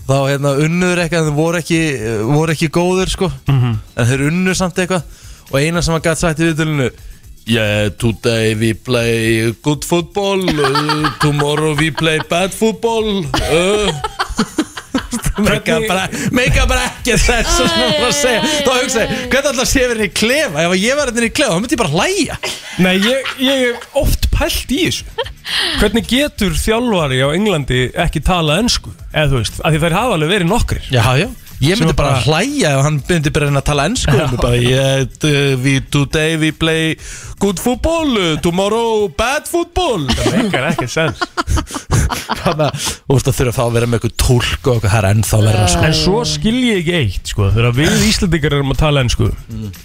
S2: þá hérna unnur eitthvað, þeir voru ekki, voru ekki góður sko en þeir unnur samt eitthvað og eina sem að gæti sagt í viðtalinu Yeah, today we play good football uh, Tomorrow we play bad football uh. [LAUGHS] Meika bara, meika bara ekki þess sem hún var að segja Þá hugsa ég, hvernig alltaf sé verið í klefa Ef ég var hérna í klefa, þá myndi ég bara hlæja
S4: Nei, ég, ég hef oft pælt í þessu Hvernig getur þjálfari á Englandi ekki tala ennsku? Eða þú veist, af því þær hafa alveg verið nokkrir
S2: Já, já Ég myndi
S4: Sem
S2: bara
S4: bara-
S2: hlæja ef hann myndi bara reyna að tala ennsku og mér
S4: [LAUGHS]
S2: bara, yeah, t- we, today we play good football, uh, tomorrow bad football
S4: [LAUGHS] Það meikar ekki sens
S2: [LAUGHS] Þannig að þú veist að þurfa þá að vera með eitthvað tólk og eitthvað það er ennþá verra sko.
S4: En svo skil ég ekki eitt, sko Þegar við Íslandingar erum að tala ennsku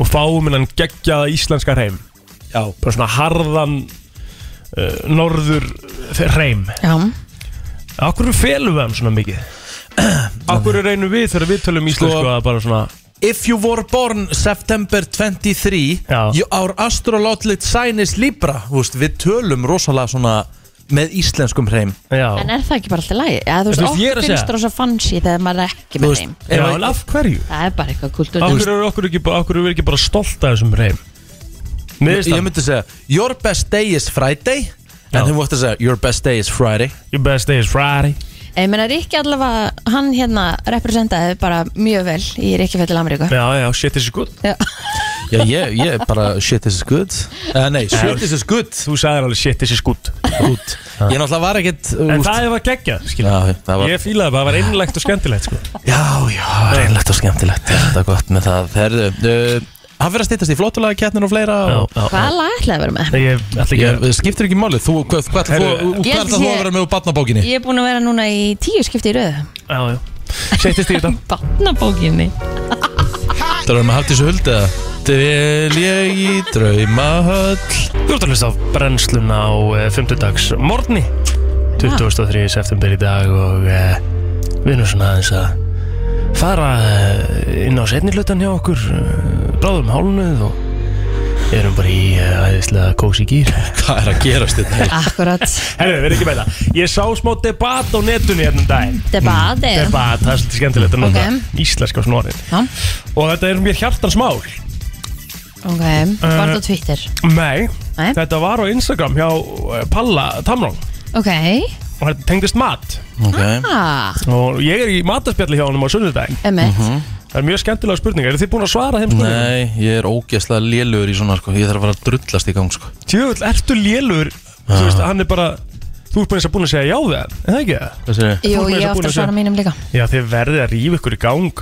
S4: Og fáum hennan geggjaða íslenska hreim
S2: Mm. Já,
S4: Bara svona harðan uh, Norður hreim
S3: Já,
S4: Akkur felum við hann svona
S2: [CLEARS THROAT]
S4: mikið? Akkur reynum við þegar við tölum íslensku
S2: Sko-
S4: að bara svona
S2: If you were born September 23
S4: Já.
S2: you, Our astrologist sign is Libra Þú veist, Við tölum rosalega svona með íslenskum hreim
S4: Já,
S3: en er það ekki bara alltaf lægi? Já, þú veist,
S4: Þú veist, ég er
S3: okkur
S4: að
S3: finnst
S4: segja-
S3: það svo fancy þegar maður er ekki
S2: Þú
S3: með
S2: veist,
S3: þeim
S2: ef
S4: Já
S2: að-
S4: en af hverju?
S3: Það er bara eitthvað kultúr
S4: Akkur eru okkur ekki, bara- af hverju erum við ekki bara stolt af þessum reym? Mér finnst
S2: Ég
S4: það
S2: myndi segja, your best day is Friday
S4: Já.
S2: En þeim vóttu að segja, your best day is Friday
S4: Your best day is Friday
S3: Ég meina Rikki allavega, hann hérna representaði bara mjög vel í Rikkifettil Ameríku
S4: Já, já, shit is good
S3: Já,
S2: Já, ég, ég er bara shit this is good uh, Nei, shit this is good
S4: Þú sagðir alveg shit is good
S2: Út. Ég náttúrulega var ekkert uh,
S4: En
S2: úst-
S4: það var geggjað, skilja
S2: Já, það var,
S4: Ég fílaði bara, það var innlegt og skemmtilegt sko.
S2: já, já, reynlegt og skemmtilegt Þetta er gott með það Herðu, uh, Hann fyrir að stýttast í flottulega kettnir og fleira og,
S3: hvað lag ætlaði að vera með?
S4: Ég ætla ekki
S2: ég,
S4: að
S2: Skiptir ekki máli, þú, hvað hva, hva,
S4: Herðu,
S2: hva,
S3: Ég
S2: hva,
S3: held
S2: hva, þú
S3: ég-
S2: að vera með úr batnabókinni?
S3: Ég er búin að vera núna í tíu skipti í röðu
S4: Já, já Settist í þetta
S3: Batnabókinni
S2: Það erum að hafa þessu huld eða? Dvel ég í draumahöll
S4: Þú ert að hlusta á brennsluna á uh, 5. dags morgni 23. september í dag og uh, við erum svona aðeins að eh, fara uh, inn á setni hlutan hjá okkur uh, eh, bráðum hálnuð og Við erum bara í uh, æðislega kósi gýr
S2: [LAUGHS] Hvað er að gerast hérna? þetta?
S3: Akkurat
S4: Herru, við erum ekki með það Ég sá smá debat á netunni hérna um daginn
S3: Debat eða?
S4: Debat, það er svolítið skemmtilegt að nota
S3: Ok.
S4: Íslenska snorinn
S3: Já,
S4: Og þetta er mér hjartansmál
S3: ok
S4: Eh.
S3: Var þetta á Twitter?
S4: Nei,
S3: Nei.
S4: þetta var á Instagram hjá eh, Palla Tamrón
S3: Ok
S4: Og þetta tengdist mat
S2: Ok
S3: Ah,
S4: Og ég er í mataspjalli hjá honum á sunnudaginn
S3: emitt
S4: Það er mjög skemmtilega spurningar Eru þið búin að svara þeim spurningum?
S2: Nei, ég er ógeðslega lélugur í svona sko Ég þarf að fara að drullast í gang sko
S4: Tjöfull, ertu lélur Þú veist, hann er bara Þú ert bara eins að búin að segja já við hann, er það ekki það?
S2: Hvað sér ég?
S3: Jú,
S4: Fólk með
S3: ég á aftur
S4: þessu búin að
S3: að svara
S4: segja.
S3: mínum líka
S4: Já, þið verðið að rífa ykkur í gang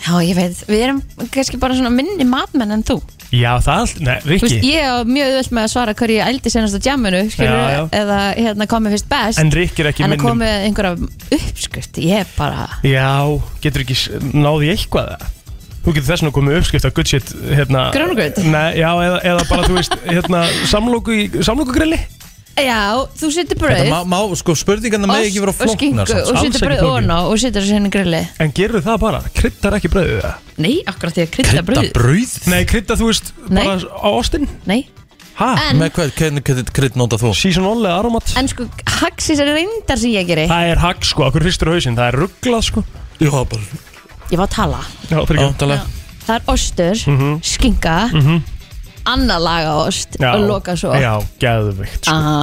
S3: Já, ég veit, við erum kannski bara svona minni matmenn en þú
S4: Já, það allt, nei,
S3: Þú veist,
S4: Rikki
S3: ég er mjög auðvöld með að svara hverju ég eldi senast á jamminu
S4: Já, já.
S3: skilur, eða hérna komið fyrst best
S4: En Rikki er ekki
S3: en að
S4: minnum
S3: komið einhverja uppskrift ég er bara,
S4: Já, getur ekki s- náð í eitthvað það Þú getur þess vegna komið með uppskrift að good shit hérna,
S3: Grjónugraut?
S4: Nei, já, eða, eða bara, þú veist, hérna, samlóku í, samlókugrilli
S3: já, þú setur
S2: Þetta
S3: brauð
S2: má, má, sko, spurningarna
S4: hérna
S3: ost
S2: megi ekki vera
S3: og skingu
S2: flóknar samt.
S3: og
S4: alls
S3: setur
S4: ekki
S3: brauð
S4: flókið.
S3: ofan á og setur þessu henni grilli
S4: En gerðu það bara, kryddar ekki brauðið það
S3: nei, akkurat því að krydda
S2: Krydda
S3: brauð
S2: brauð?
S4: Nei, krydda, þú veist,
S3: Nei.
S4: bara á ostinn
S3: nei,
S4: Hæ?
S3: en,
S2: Með hvað, hvernig krydd- krydd nota þú?
S4: Seasonal eða aromat
S3: en sko haxis er reyndar sem ég geri
S4: Það er hagg, sko, okkur hristur á hausinn, það er rugglað, sko
S2: Já, bara
S3: ég var að tala,
S4: Já, fyrir ekki
S2: Ántalega
S3: það er ostur skinga annar laga ost
S4: Já.
S3: og loka svo
S4: Já, geðvikt sko.
S3: Aha.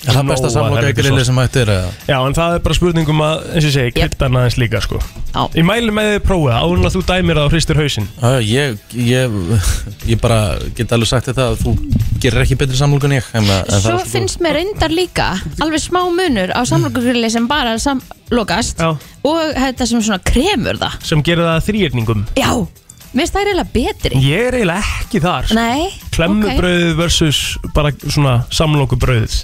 S2: Er það
S4: Nóa,
S2: besta
S4: það er
S2: samloka í
S4: ekki
S2: grilli
S4: svo.
S2: sem hægt er eða?
S4: Já, en það er bara spurning um að, eins og ég segi,
S3: Jep.
S4: kryttan aðeins líka sko.
S3: Já.
S4: Ég mæli með þið prófa það, áður en að þú dæmir það á hristur hausinn
S2: Já, ég, ég, ég bara get alveg sagt þetta að þú gerir ekki betri samloka en ég en, en það er
S3: Svo
S2: svo-
S3: finnst mér reyndar líka alveg smá munur á samlokurgrilli sem bara samlokast
S4: Já.
S3: og þetta sem svona kremur það
S4: sem gerir það að þrýerningum
S3: Já, mér finnst það reyla betri
S4: Ég er eiginlega ekki þar sko.
S3: Nei,
S4: Klemmubrauð versus bara svona samlokubrauð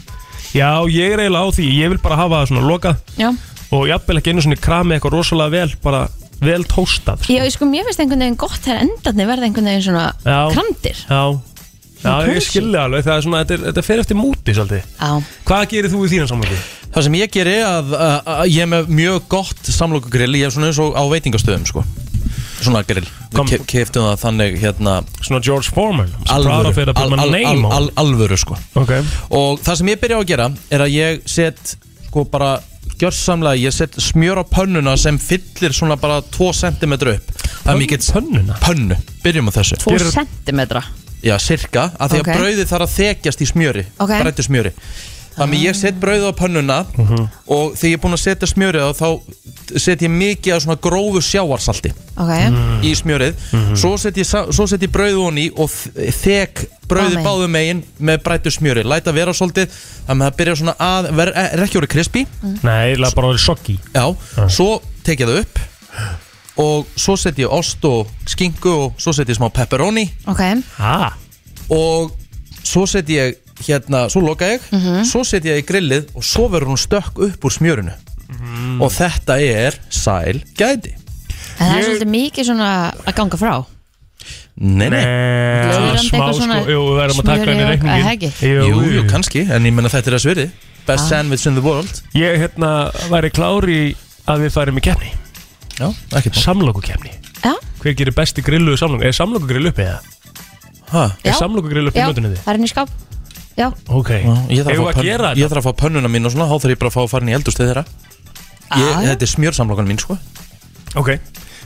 S4: Já, ég er eiginlega á því, ég vil bara hafa það svona lokað
S3: ok Já,
S4: og jafnvel ekki einu svona kramið eitthvað rosalega vel, bara vel tóstað sko.
S3: Já, ég sko, mér finnst einhvern veginn gott þegar endarnir verða einhvern veginn svona
S4: Já.
S3: krandir
S4: Já, já
S3: Svona
S4: ég
S3: cozy.
S4: skilja alveg, það er svona, þetta, er, þetta fer eftir múti svolítið
S3: Já,
S4: Hvað gerir þú í þínan samlokubrauð?
S2: Það sem ég geri að, að, að ég er með mjög gott samlokagrill Ég er svona eins og á veitingastöðum sko Svona grill
S4: Kom-
S2: Við keftum það þannig hérna
S4: Svona George Foreman I'm so proud of
S2: alvöru
S4: it, I put my
S2: al, al,
S4: name
S2: al,
S4: on
S2: al, Alvöru sko
S4: it. Ok.
S2: Og það sem ég byrja á að gera er að ég set sko bara gjörsamlega Ég set smjör á pönnuna sem fyllir svona bara 2 cm upp Þannig að ég get
S4: Pönnuna?
S2: pönnu, byrjum á þessu
S3: tvo
S4: Gerir-
S3: sentimetra
S2: Já, sirka, af því
S3: Ok.
S2: að okay. brauðið þarf að þekjast í smjöri
S3: Ok.
S2: Brættu smjöri Þannig ég set brauðið á pönnuna Og þegar ég er búinn að setja smjörið á Þá set ég mikið af svona grófu sjáarsalti
S3: Ok,
S4: Mm.
S2: Í smjörið
S3: Mm-hmm.
S2: Svo set ég, sa- svo set ég brauðið honni Og þ- þek brauðið
S3: Báðum megin.
S2: báðum megin Með brættu smjöri, læta vera svolítið Þannig að það byrja svona að ver, eh, Er ekki orðið krispi
S3: Mm-hmm.
S4: Nei, það er bara orðið Ah. sjokki.
S2: Já, svo tek ég það upp Og svo set ég ost og skinku Og svo set ég smá pepperoni
S3: ok
S4: Hæ?
S2: og svo set ég hérna, svo loka ég
S3: Mm-hmm.
S2: svo set ég í grillið og svo verður hún stökk upp úr smjörinu
S4: Mm-hmm.
S2: og þetta er sæl gæti
S3: En það er
S4: Ég-
S3: svolítið mikið svona að ganga frá
S2: Nei, nei,
S4: Nei,
S3: Löðrandi
S4: smá
S3: eitthvað
S4: sko,
S3: svona
S4: jú, við erum að taka
S3: smjöri
S4: henni
S3: og-
S4: reikningin.
S3: að heggi. Ah.
S2: jú, jú, kannski en ég menna þetta er að sverði best sandwich in the world
S4: Ég, hérna, væri klári að við færum í keppni.
S2: já, ekki bá
S4: Samloku keppni.
S3: Já,
S4: Hver gerir besti grillu í samloku? Er samloku grill uppið það?
S2: Ha,
S3: já,
S4: Er samloku grill uppið
S3: já,
S4: mötunni þið?
S3: það er inn í skáp Já,
S4: Ok.
S2: já, ég þarf
S4: Eigum
S2: að,
S4: við
S2: fá
S4: að gera
S2: pönn- ég
S4: þetta?
S2: þarf að fá pönnuna mín og svona þá þarf ég bara að fá að fara inn í eldurstið þeirra ég,
S3: Já, já.
S2: þetta er smjörsamlokan mín sko
S4: Ok.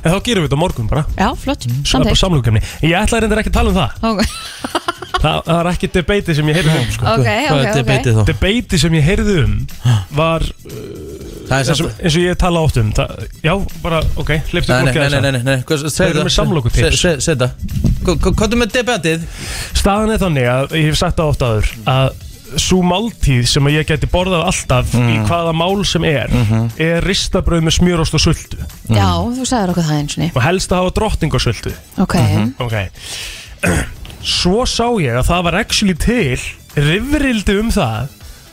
S4: En þá gerum við þetta á morgun bara.
S3: já, flott,
S4: Mm. Bara
S3: samtæk
S4: samloku keppni. Ég ætla reyndar ekki að tala um það.
S3: Ok,
S4: Það, það er ekki debatið sem ég heyrði um, sko.
S3: ok,
S2: Hvað er
S3: ok, ok
S2: debatið þá?
S4: Debatið sem ég heyrði um var, uh,
S2: Það er
S4: eins
S2: samt
S4: og, eins og ég tala oft um, það, já, bara, ok, hliftu
S2: Nei, nei,
S4: fólki
S2: nei,
S4: að
S2: nei, nei, nei, nei. hvað- segðu
S4: Þeir
S2: það.
S4: eru með samlokutips.
S2: Se- se- Segðu það Hvað hvað er með debatið?
S4: Staðan er þannig að ég hef sagt það oft áður að svo máltíð sem að ég geti borðað alltaf í
S2: Mm.
S4: hvaða mál sem er
S2: Mhm.
S4: er ristabröð með smjörost og sultu
S3: Já, þú sagðir okkur það eins og ný
S4: og helst að hafa drotting og sultu
S3: Ok,
S2: Mhm.
S4: ok [CLEARS THROAT] svo sá ég að það var actually til rifrildi um það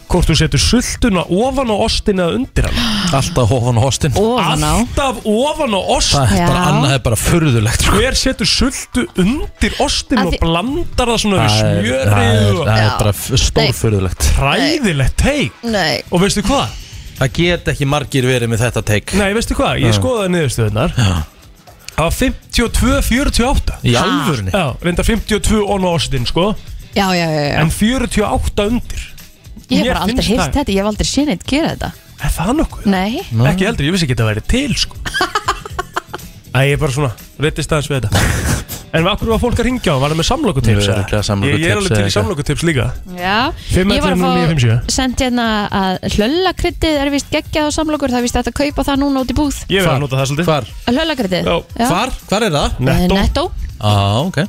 S4: hvort þú setur sultuna ofan á ostin eða undir hann
S2: Alltaf hófan og hostin
S3: ofan á
S4: alltaf ofan á
S2: Það
S4: ostin
S2: er bara
S3: Já.
S2: annað, það er bara furðulegt sko.
S4: hver setur sultu undir ostin
S3: Að
S4: og
S3: því-
S4: blandar það svona við
S2: Það er- það
S4: smjörið
S2: er-
S4: og
S2: Það er
S3: Já.
S2: bara stórfurðulegt
S4: ræðilegt teik
S3: Nei,
S4: og veistu hvað?
S2: Það get ekki margir verið með þetta teik
S4: Nei, veistu hvað, ég skoðaði niðurstöðunar Það var 52-48
S2: Í
S3: Ha?
S2: alvörni
S4: Já, reyndar 52 on ostin sko
S3: Já, já, já, já.
S4: En 48 undir
S3: Ég hef
S4: mér
S3: bara aldrei
S4: finnst
S3: heyrt
S4: það-
S3: þetta, ég hef aldrei séð neitt gera þetta
S4: Er það nokkuð?
S3: Nei,
S4: Ekki heldur, ég vissi ekki að það væri til
S2: [LAUGHS]
S4: sko Æ, ég er bara svona, reytist aðeins við þetta En af hverju var fólk að ringja á, var það með samlokutips?
S2: Nú er örugglega samlokutips
S4: Ég, ég er
S2: eða
S4: alveg til í
S2: eitthvað.
S4: samlokutips líka
S3: já
S4: Fimm,
S3: Ég var
S4: ellefu,
S3: að
S4: núll, níu, fimm, sjö.
S3: fá sendt hérna að hlöllakryttið er vist geggjað á samlokur Það er vist hægt að kaupa það núna út í búð
S4: Ég verði
S2: Hvar?
S4: að nota það svolítið
S2: Hvar?
S3: Hlöllakryttið
S4: Já.
S2: Hvar? Hvar er það?
S4: Netto.
S3: Eh, Netto
S2: Á, ok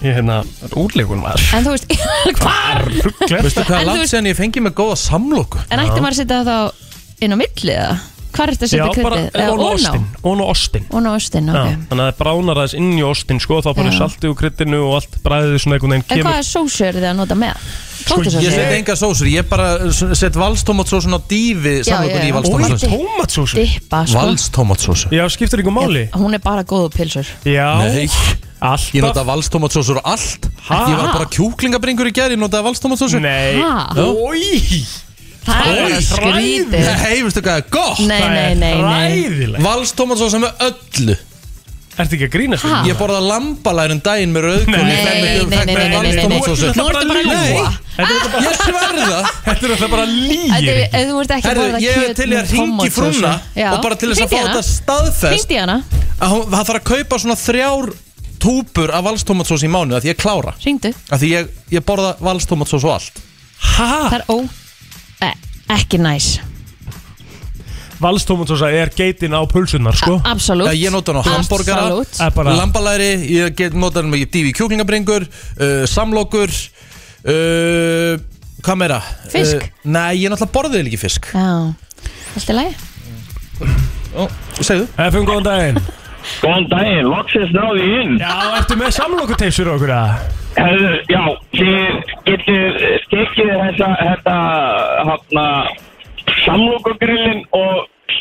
S4: Ég hérna, úrleikun var
S2: [LAUGHS]
S3: En þú veist, hvar?
S2: Veistu
S3: En
S2: hvað er
S3: þú
S2: langt
S3: veist-
S2: séðan ég fengi með góða samloku?
S3: En ætti maður að setja það þá inn á milli eða? Hvar ertu að
S4: Já,
S3: setja
S4: bara
S3: kryttið?
S4: on ostin On ostin
S3: Ón á ostin,
S4: Já,
S3: ok
S4: þannig að það bránar aðeins inn í ostin sko, þá bara
S3: Já.
S4: saltið úr kryddinu og allt bræðið svona einhvern veginn
S3: En
S4: kemur Sko,
S3: hvað er sósu eru þið að nota með? Tóttusósu?
S2: Ég set enga sósur, ég bara set valstómatsósun á dífi
S3: já,
S2: samlokun
S3: já.
S2: í
S4: Ói,
S3: Valstómatsósu.
S2: valstómatsósun
S4: tómatsósu
S3: Dippa, sko
S2: Valstómatsósu?
S4: Já, skiptir ykkur máli
S3: Hún er bara góð á pilsur
S4: Já,
S2: Nei,
S4: alltaf
S2: ég nota valstómatsósur og allt
S4: Ha?
S2: Ég var bara kjúklingabringur í gerð, ég notaði valstómatsósu
S4: Nei
S3: Ha?
S4: Ói
S3: Það er
S4: Oj,
S3: bara skrítið
S2: Nei, veistu hvað er gott?
S3: Nei,
S4: Það
S3: nei,
S4: er
S3: nei, nei
S4: ræðilegt
S2: Valstómatsósa með öllu
S4: Ertu ekki að grínast? hérna?
S3: Ha?
S2: Ég borða lambalærin daginn með rauðkóli
S4: Nei,
S2: ég fekk
S3: nei,
S2: ekki-
S3: nei,
S2: fekk
S3: nei,
S2: mér
S3: nei, nei, nei, nei.
S2: valstómatsósu.
S3: Nú ertu bara að
S2: Nei.
S3: ljúga.
S4: Þetta er bara-
S2: Ég sverða
S4: þetta er alltaf bara
S3: Þetta
S4: lýgir
S3: er- Ef þú ert ekki að
S2: Herðu,
S3: borða
S2: ég er
S3: kjöt
S2: til í
S3: með
S2: að ringi
S3: tómatsósu.
S2: frúna
S3: Já.
S2: og bara til þess að
S3: Hringdu
S2: fá
S3: í hana.
S2: þetta staðfest
S3: Hringdu í hana
S2: að hún, það þarf að kaupa svona þrjár túpur af valstómatsós í mánu að því ég klára
S3: Ringdu
S2: að því ég, ég borða valstómatsós og allt
S3: Það
S4: Ha?
S3: er ó e- Ekki næs
S4: Valstómatsósa er geitin á pulsunar, sko
S3: Absolutt
S2: Já, ég nota hann á hambúrgara,
S3: Absolutt
S4: Er bara
S2: lambalæri ég get nota hann með dífi kjúklingabringur uh, samlokur uh, hvað meira?
S3: Fisk?
S2: Uh, nei, ég náttúrulega borðið ekki fisk
S3: Já Allt í lagi
S2: Ó, segðu
S4: FM, góðan daginn
S5: Góðan daginn, loksins náði ég inn.
S4: Já, ertu með samlokuteipsur okkur að?
S5: Herðu, já, þið getur stekið þessa, þetta, hérna, samlokugrillin og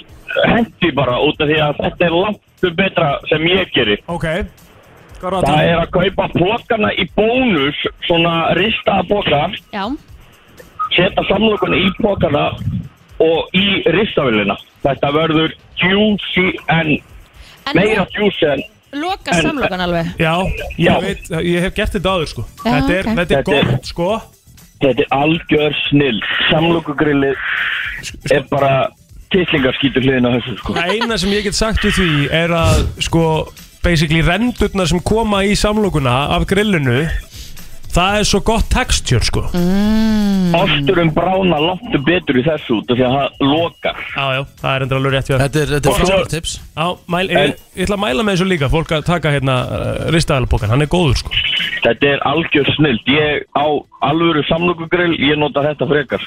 S5: hendi bara út af því að þetta er langt betra sem ég gerir.
S4: Ok Hvað er
S5: Það
S4: það?
S5: er að kaupa pókana í bónus, svona ristaða póka,
S3: Já
S5: setja samlokuna í pókana og í ristavillina. Þetta verður juicy en,
S3: En
S5: meira
S3: nú
S5: juicy en,
S3: loka samlokan alveg
S4: Já,
S5: Já.
S4: ég veit, ég hef gert þetta áður, sko
S3: Já,
S4: Þetta er,
S3: ok.
S4: þetta er
S5: Þetta er-
S4: gott, sko
S5: þetta er algjör snill. Samlokugrillið er bara tittlingarskítur hliðin á þessu sko.
S4: Það eina sem ég get sagt við því er að sko, basically rendurnar sem koma í samlokuna af grillinu það er svo gott texture sko
S3: Mm.
S5: Osturum brána láttu betur í þessu út af því að það lokar
S4: Já, já, það er endur alveg rétt hjá þér.
S2: þetta er, þetta
S5: Og
S2: er
S5: svo-
S2: frábært tips
S4: Já, mæl, ég, ég ætla að mæla með þessu líka fólk að taka hérna uh, ristaðalabókan, hann er góður sko
S5: Þetta er algjör snild Ég á alvöru samlokugrill Ég nota þetta frekar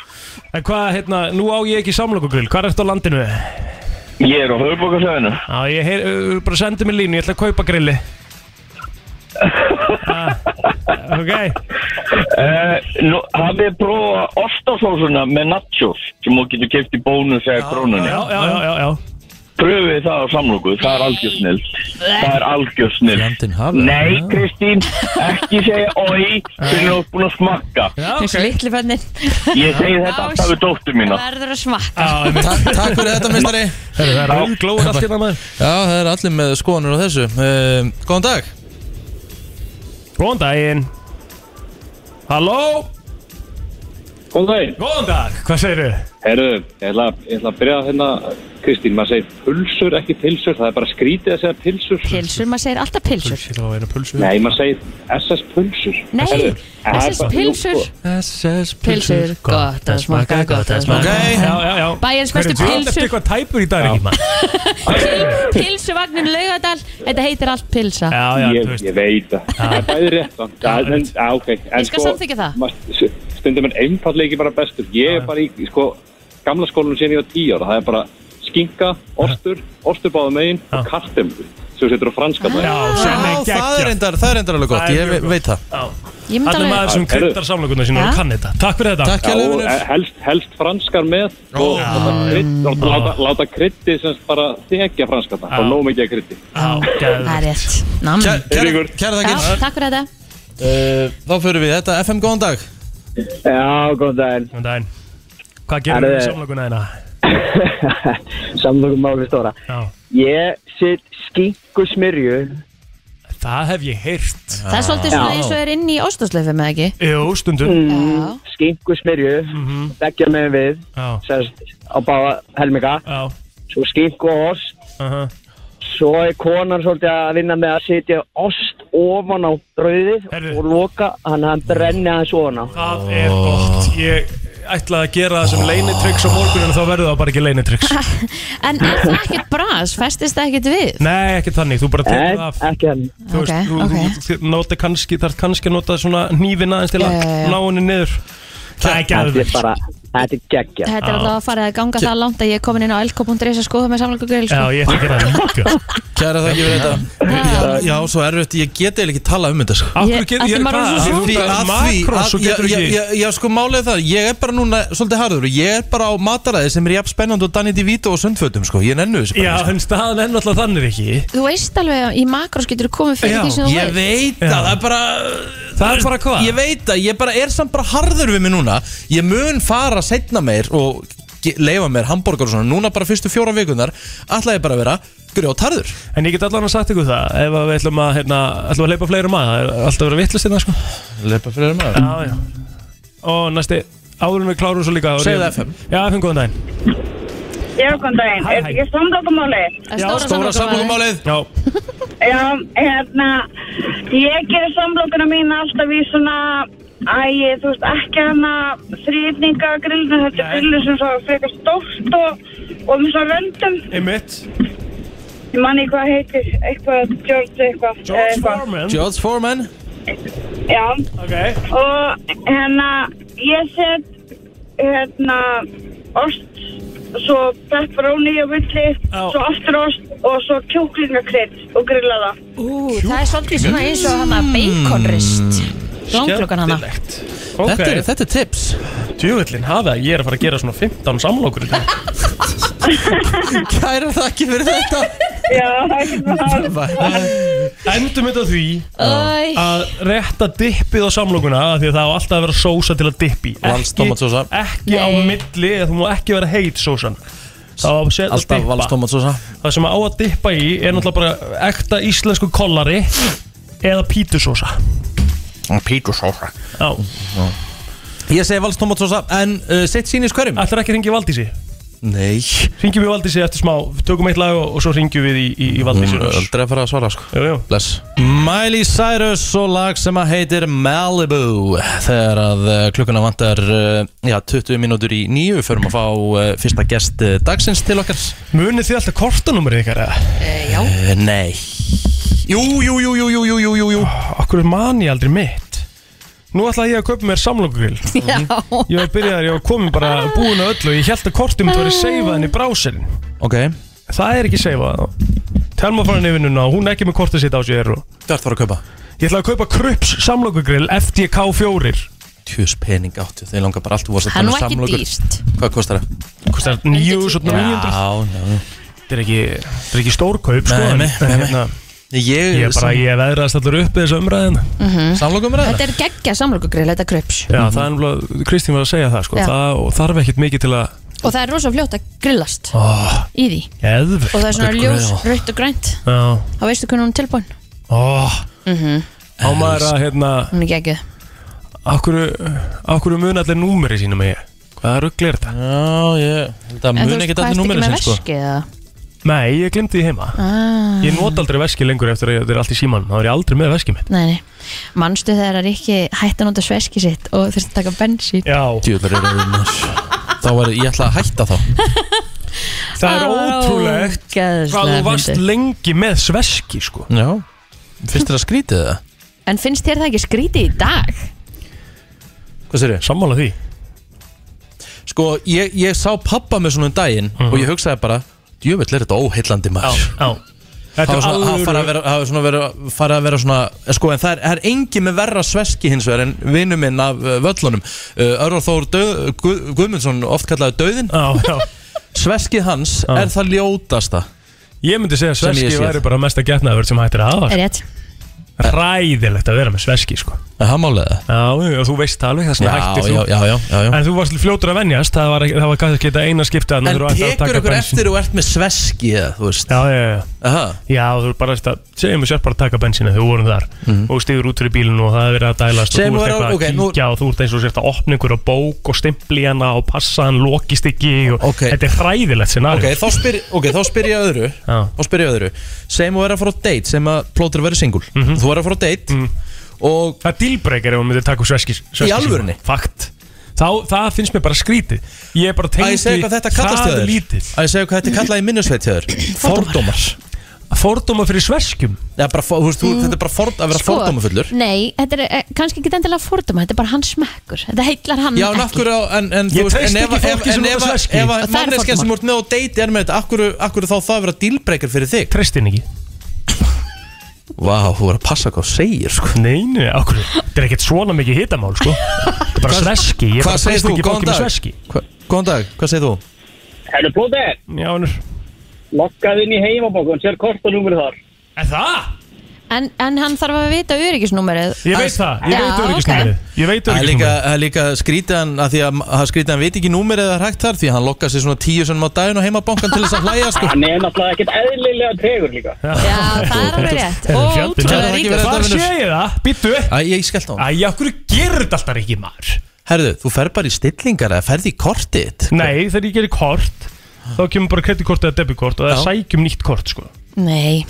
S4: En hvað, hérna, nú á ég ekki samlokugrill hvað ertu á landinu?
S5: Ég er á höfubókarsöðinu
S4: Já, ég heyr, uh, bara sendi mér línu, ég ætla að kaupa grilli ah, Ok,
S5: uh, Hafið þið prófa ostasósuna með nachos sem þú getur keft í bónus eða krónunni
S4: já, já, já, já, já.
S5: Pröfið það á samloku, það er algjör snild Það er algjör snild
S2: Landinn hafið
S5: Nei,
S2: Já.
S5: Kristín, ekki segja oi fyrir þú ert búin að smakka
S4: Já,
S3: Þessi
S4: ok
S3: litli fennin
S5: Ég segi þetta alltaf við dóttur mína
S3: Verður að smakka
S4: Já, einmitt.
S2: Takk, takk fyrir þetta, mistari
S4: Herru, Það er glóður allt hérna maður
S2: Já, það er allir með skoðanur á þessu uh, Góðan dag
S4: Góðan daginn Halló
S6: Góðan daginn.
S4: Góðan dag Hvað segirðu?
S6: Herru, ég ætla, ég ætla að byrja hérna, Kristín, maður segir pulsur, ekki pilsur, það er bara skrítið að segja pilsur.
S3: Pilsur, maður segir alltaf pilsur
S4: Ég þá að vera pulsu
S6: Nei, maður segir SS pulsur.
S3: Nei,
S6: Heyrðu, það er
S3: SS
S6: bara-
S3: pilsur
S6: Jú, sko,
S2: SS
S3: Pilsur, gott að smakka, gott að smakka
S2: Ok.
S4: Já, já, já
S3: Bæjarins bestu
S4: Hverju, þú ert
S3: pylsur.
S4: eftir eitthvað tæpur í dag ekki maður
S3: Pilsuvagnin Laugadal Þetta heitir allt pilsa
S4: Já, já,
S6: Ég,
S4: þú veist
S6: ég veit það. Það er bæði rétt það. Það er, á, ok. En sko-
S3: Ég skal samþykkja það.
S6: maður- Stundum er einfallega ekki bara bestur. Ég er bara í, í, sko, gamla skólanum síðan ég var tíu ára. Það er bara skinka, ostur, ostur báðum megin og kartemlu sem setur á franska bæði.
S4: Já, sem
S2: Já,
S4: er
S2: það er
S4: geggjað
S2: reyndar, það er reyndar alveg gott,
S4: Það er
S2: ég
S4: mjög
S2: ve-
S4: gott.
S2: veit það
S3: Ég myndi
S4: Allir
S3: alveg
S4: maður sem
S6: Herru.
S4: kryddar samlokunar sína og
S3: Já.
S4: kann þetta Takk fyrir þetta
S2: Takk
S6: Já,
S2: hérlega
S6: og eh,
S2: vinnur
S6: helst, helst franskar með og
S4: Já.
S6: láta, krydd, og láta, láta krytti sem sagt bara þekja franskata
S4: Já.
S6: og nóg mikið að krytti
S4: Já,
S3: Það er
S4: geðveikt.
S3: rétt Nam
S2: Kæra, kæra,
S6: Eiríkur.
S2: kæra
S3: Já,
S2: þakkir
S3: takk fyrir þetta
S2: uh, Þá fyrir við þetta, FM góðan dag
S7: Já, góðan daginn.
S4: Góðan daginn Hvað gerir við
S7: Herru.
S4: samlokuna þeina?
S7: Samlokum máli stóra.
S4: Já,
S7: Ég sitt skingu smyrju
S4: Það hef ég heyrt
S3: Það er svolítið svona eins og er inn í óstaslöfum, eða ekki?
S4: Jú, stundum
S6: Mm.
S3: Já,
S7: Skingu smyrju Begja með við
S4: Mhm. Já,
S7: Sest á báða helminga
S4: já,
S7: Svo skingu og ost
S4: aha
S7: Svo er konan svolítið að vinna með að setja ost ofan á brauðið
S4: Heyrðu.
S7: Og loka, hann, hann brenni aðeins ofan á
S4: Það er gott Ég ætlaði að gera það sem leinitryggs á morgun en þá verður það bara ekki
S3: [LAUGHS]
S4: leinitryggs
S3: En er það ekkert bras? Festist það ekkert við?
S4: Nei, ekki þannig, þú bara
S7: Nei,
S4: tekur það af
S7: ekki hann
S4: Þú veist,
S3: Ok,
S4: þú,
S3: ok.
S4: þú, þú nota kannski, þarf kannski að nota svona hnífin aðeins til að
S3: Já, já, já.
S4: ná henni niður Það er
S7: Þetta er
S4: gæðvikt
S7: bara, þetta er geggja
S3: Þetta er alltaf að fara að ganga það langt að ég er komin inn á elko.is að skoða með samlokugril
S4: Já,
S3: sko.
S4: ég ætla að gera það líka
S2: Kæra þakki fyrir þetta Já, Já, svo erfitt, ég get eiginlega ekki talað um þetta sko.
S4: Af hverju
S3: Ég-
S4: getur
S3: af því
S4: ég
S3: maður er
S4: hvað?
S3: svo
S2: Því
S4: Af því
S2: að því
S4: Makrón, svo
S2: að, já,
S4: getur
S2: já,
S4: ekki
S2: já, já, sko málið er það Ég er bara núna svolítið harður og Ég er bara á mataræði sem er jafn spennandi og Danny DeVito og sundfötum sko Ég nennu þessu
S4: Já,
S2: bara sko.
S4: en staðan er náttúrulega þannig ekki
S3: Þú veist alveg að í makrós getur þú komið fyrir
S4: Já,
S3: því sem þú veist
S2: Ég veit að
S4: Já.
S2: það er bara
S4: Það er bara hvað?
S2: Ég veit að ég bara er samt bara harður við mig núna Ég mun fara setna meir og ge- leifa mér hambúrgar og svona Núna bara fyrstu fjóra vikunar Ætla ég bara að vera grjótarður
S4: En ég get allan að sagt ykkur það Ef að við ætlum að, hérna, ætlum að leipa fleirum að Það er alltaf að vera vittlust hérna, sko
S2: Leipa fyrir maður
S4: Já, já Og næsti, áður en við klárum svo líka
S2: Segðu FM.
S4: Já, FM, góðan daginn
S8: Já, góðan daginn.
S4: Hæ,
S8: Er
S4: hæ.
S8: þetta ekki samlokumáli?
S3: Það er
S4: Já,
S2: Stóra
S3: samlokumálið.
S2: samlokumálið
S4: Já,
S8: Já, hérna, ég gerir samlokuna mín alltaf í svona, æ, þú veist, ekki hana þrýfninga grillinu, þetta er grillu sem svo frekar stórt og, og með svona röndum.
S4: einmitt
S8: Ég manni hvað heitir, eitthvað, George eitthvað.
S4: George
S8: eitthvað.
S4: Foreman
S2: George Foreman
S8: Já,
S4: Ok
S8: og hérna, ég set, hérna, ost, svo pepperoni á villi,
S4: Já.
S8: svo aftur ost og svo kjúklingakreitt og grilla það.
S3: Ú, Það er svolítið svona eins og hana
S2: Mm.
S3: baconrist Langklokkan hana
S4: Skemmtilegt
S2: þetta, er,
S4: Ok,
S2: þetta er tips
S4: djúvillin hafa Ég er að fara að gera svona 15 samlokur
S2: [LAUGHS]
S4: í dag
S2: Kæra þakki fyrir þetta
S8: Já, það er ekki
S4: [LAUGHS]
S8: það.
S4: Endum þetta á því
S3: Æ,
S4: að rétta dippið á samlokuna af því að það á alltaf að vera sósa til að dippi
S2: Valstomatsósa.
S4: ekki á
S3: Nei.
S4: milli eða þú má ekki vera heit sósan það á að setja að
S2: Alltaf
S4: dippa
S2: valstomatsósa
S4: það sem á að dippa í er náttúrulega bara ekta íslensku kollari eða pítusósa
S2: Pítusósa
S4: Já,
S2: Ég segi valstomatsósa en uh, sitt sýnis hverjum
S4: ætlar ekki að ringi Valdísi
S2: Nei
S4: ringjum við Valdísi eftir smá, tökum eitt lag og, og svo ringjum við í, í, í Valdísi
S2: Mm,
S4: Jú,
S2: að fara að svara sko
S4: Mm. jú,
S2: Bless Miley Cyrus og lag sem að heitir Malibu Þegar að eh, klukkuna vantar eh, já, 20 mínútur í nýju Förum að fá eh, fyrsta gest eh, dagsins til okkar
S4: munið þið alltaf kortanúmerið ykkar eða?
S2: Eh, Nei Jú, jú, jú, jú, jú, jú, jú, jú, jú
S4: Okkur man ég aldrei mitt Nú ætla ég að kaupa mér samlokugrill Mhm.
S3: já Ah.
S4: Ég var byrjaður, ég var komin bara búin að öllu og ég held að kortið mitt var að seifa henni brásin
S2: Ok
S4: Það er ekki seifað Telma frá henni í vinnuna og hún er ekki með kortið sitt á sér og
S2: Þú ert fara að kaupa
S4: Ég ætla að kaupa Krups samlokugrill FDK 4
S2: Tjús pening áttu Þeir langar bara allt voru um
S3: Það er nú ekki dýrt
S2: Hvað kostar það?
S4: Kostar 9.900
S2: Já, já
S4: Þetta er ekki, þetta er ekki stórkaup sko,
S2: Nei,
S4: en-
S2: nei,
S4: en
S2: nei, nei.
S4: hérna,
S2: Ég,
S4: Ég er bara, ég veðrast allur upp í þessu umræðin
S2: Samlokum er
S3: Mhm. Þetta er geggja samlokugril, þetta krups
S2: Mhm.
S4: Já, það er náttúrulega, Kristín var að segja það sko,
S3: Já.
S4: það og þarf ekkit mikið til að
S3: Mhm. Og það er rosa fljótt að grillast
S4: oh,
S3: í því
S4: Geðvegt
S3: Og það er svona
S2: Þetta er
S3: ljós,
S2: grill.
S3: rautt og grænt
S4: Já,
S3: Þá veistu hvernig hún er tilbúin
S4: oh, á maður að hérna
S3: Hún er geggjuð
S4: Akkur, akkur mun allir númeri sínum ég Hvaða rugl er þetta?
S2: Já, ég held að
S3: En þú
S2: mun
S3: veist, hvað
S2: ekkert allir
S3: ertu ekki
S2: númerið
S3: með
S2: sem sko
S3: veskið eða?
S4: Nei, ég glemdi því heima
S3: Ah.
S4: Ég nota aldrei veski lengur eftir að ég- þetta er allt í símanum Þá er ég aldrei með veskið mitt
S3: Ah. Nei, nei. Manstu þegar að Rikki hætti að nota sveski sitt og þurfti að taka bensín?
S4: Já
S2: Djúlar er það mér Þá var ég ætla að hætta þá
S4: Það er ótrúlegt hvað þú varst lengi með sveski sko
S2: Já Finnst þér að skrítið það?
S3: En finnst þér það ekki skrítið í dag?
S2: Hvað sér ég?
S4: Sammála því
S2: Sko, ég, ég sá pappa með svona um daginn Og ég hugsaði bara Djúvill er þetta óheillandi maður
S4: Mhm. já
S2: Það
S4: Þetta er
S2: var svona, það
S4: alvöru
S2: fara að vera, það var svona vera, fara að vera svona Sko, en það er, það er engin með verra sveski hins vegar En vinnu minn af uh, völlunum uh, Örvar Þór Dauð- Guð, Guðmundsson Oft kallaði Dauðin
S4: Já, já
S2: Sveskið hans
S4: Já.
S2: er það ljótasta
S4: Ég myndi segja að
S2: Sem ég
S4: sveski
S2: séð.
S4: væri bara mesta getnaður sem hættir að hafa
S3: Er rétt?
S4: sko. Ræðilegt að vera með sveski sko
S2: Er það málega?
S4: Já, já, þú veist það alveg, þess
S2: Já,
S4: vegna hættir þú
S2: já, já, já, já, já.
S4: En þú varst fljótur að venjast, það var, það var kannski þetta eina skipta
S2: En tekur ykkur eftir og ert með sveski eða, þú veist
S4: Já, já, já
S2: Aha.
S4: Já, þú er bara að segja mér sér bara að taka bensínu þegar við vorum þar og stíður út fyrir bílinu og það er verið að dælast
S2: Mhm. Segjum
S4: og þú
S2: við
S4: ert
S2: að-
S4: eitthvað
S2: ok,
S4: að
S2: nú-
S4: kíkja og þú ert eins og sért að opna einhverja bók og stimpli hana og passa hann, lokist ekki og
S2: Ok.
S4: þetta er hræðilegt scenario
S2: Ok, þá spyr, okay, þá spyr ég að öðru
S4: Já.
S2: Þá spyr ég að öðru Segjum þú er að fara á date Segjum að plótur verið singul Þú er að fara á date Og
S4: Mhm. Það er dealbreaker ef hún myndir taka úr sveski, sveski
S2: alvörunni?
S4: Fakt Þá, það finnst mér bara skrítið Ég bara
S2: að
S4: tengi
S2: ég segja hvað þetta kallast
S4: það
S2: hjá
S4: er
S2: þér
S4: lítið
S2: Að ég segja hvað þetta kallast í minnusveit hjá þér Fordómar
S4: Fordóma fyrir sveskjum Sko,
S2: Eða bara, fó- þú veist, þú- Þetta er bara ford, að vera fordómafullur
S3: Sko, Nei, þetta er eh, kannski ekki endilega fordóma Þetta er bara hans smekkur Þetta heitlar hann
S2: Já, en
S3: ekki
S2: akkur á en, en, þú
S4: Ég
S2: veist, en
S4: treysti
S2: ef-
S4: ekki
S2: ef-
S4: fólki sem
S2: en
S4: er
S2: ef-
S4: með sveski.
S2: Ef
S3: Og það er
S2: manneskja
S3: fordómar.
S2: sem þú ert með á date er með þetta Akkur, akkur þá það að vera dealbreaker fyrir þig
S4: Tristin ekki
S2: Vá, þú er að passa hvað þú segir sko.
S4: Nei, nei, okkur Þetta er ekkert svona mikið hitamál, sko Þetta er bara
S2: Hvað-
S4: sveski Ég
S2: Hvað
S4: bara
S2: segir
S4: treysti
S2: þú?
S4: ekki
S2: Góðan
S4: fólki með
S2: dag
S4: sveski
S2: Hva- Góðan dag, hvað segir þú?
S5: Herru Plóter,
S4: Já, hannur
S5: loggað inn í heimabókun, sér kortanúmur þar.
S4: Er það?
S3: en, en hann þarf að vita öryggisnúmerið
S4: Ég veit það, ég
S3: Já,
S4: veit
S3: ok.
S4: öryggisnúmerið Ég veit
S2: Það er líka,
S4: öryggisnúmerið
S2: það er líka skrítan að því að það skrítan veit ekki númer eða er hægt þar því að hann lokkar sér svona tíu sem á daginn og heimabankan til þess að hlæja sko.
S5: Hann er náttúrulega ekkert eðlilega tregur líka.
S3: Já, það er alveg rétt
S4: Þetta er
S3: Og
S4: fjandinn.
S3: ótrúlega
S2: Það er ekki
S3: ríkur
S2: verið-
S4: Hvað
S2: Þetta
S4: sé ég það? Býttu
S2: Æ, ég skellti á hann.
S4: Æ, okkur gerir þetta alltaf ekki maður
S2: Herðu, þú fer bara í stillingar eða ferð í kortið þitt.
S4: Nei, þegar ég gerir kort Þá kemur bara kreditkort eða debitkort Og það
S2: Já.
S4: sækjum nýtt kort, sko
S3: Nei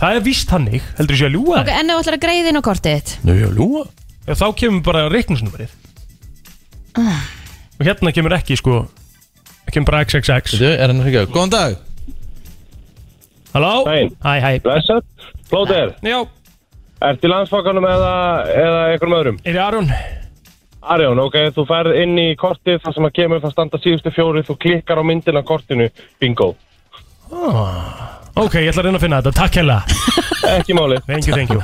S4: Það er vist hannig, heldur ég sé að ljúga
S3: Ok,
S4: okay.
S3: en þú ætlar að greiða inn á kortið þitt
S2: Nú, já, lúa.
S4: Þá kemur bara reiknusnúmerið Og hérna kemur ekki, sko Það kemur bara XXX
S2: Þú, er hann ekki að, góðan dag.
S4: Halló?
S6: Daginn.
S4: Hæ, hæ
S6: Blessat, Plóter,
S4: Já,
S6: ertu í landsfokkanum eða, eða einhverjum öðrum?
S4: er ég Aron?
S6: Arjón, ok, þú ferð inn í kortið þar sem að kemur það standa síðustu fjóri, þú klikkar á myndina kortinu, bingo.
S4: Ah. Ok, ég ætla að reyna að finna þetta, takk hella
S6: Ekki máli.
S4: Thank you, thank you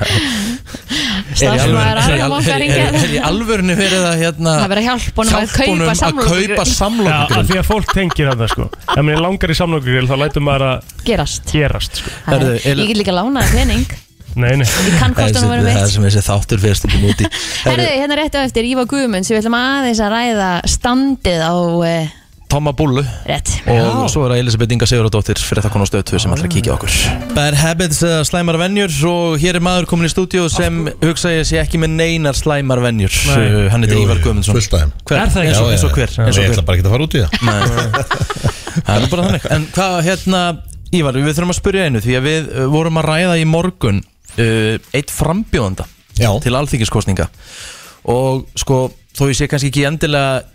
S3: Starfsmaður aðra móka
S2: er, er,
S3: ringið
S2: er í alvörinu verið að hérna
S3: Það verður að hjálpa honum að
S2: hjálpa honum
S3: kaupa
S2: að kaupa
S3: samlokur
S4: Já, af
S2: samlokur?
S4: því að fólk tengir þarna sko Ef mér er langar í samlokur þá lætur maður að
S3: Gerast
S4: gerast sko
S3: Það er-
S2: Herðu, Elín-
S3: Ég get líka lánað pening
S4: Nei, nei
S3: Ég kann hvort hann verið
S2: Það er
S3: veitt
S2: sem þessi þáttur fyrir stundum úti.
S3: Herðu, hérna rétt á eftir Ívar Guðmunds Við ætlum aðeins að ræða standið á eh,
S2: Tomma Bullu
S3: Rétt
S2: og svo er það Elisabeth Inga Sigurðardóttir fyrir þetta konar stöðtu sem ætlar að kíkja á okkur Bad Habits eða slæmar venjur og hér er maður komin í stúdíu sem hugsa ég sé ekki með neinar slæmar venjur
S4: Nei.
S2: Uh, hann heitir
S9: Jú,
S2: Ívar
S9: jú,
S2: Guðmundsson
S9: fullt af þeim.
S2: Hver?
S4: Er það ekki?
S2: eins og,
S9: Já,
S2: eins og
S9: já,
S2: hver,
S9: já.
S2: eins og
S9: Ég
S2: hver.
S9: ætla bara ekki að fara út í það
S2: Það er bara þannig En hvað hérna Ívar við þurfum að spyrja einu því að við uh, vorum að ræða í morgun uh, eitt frambjóðanda
S9: Já.
S2: til alþingiskostninga og sko þó ég sé kannski ekki endilega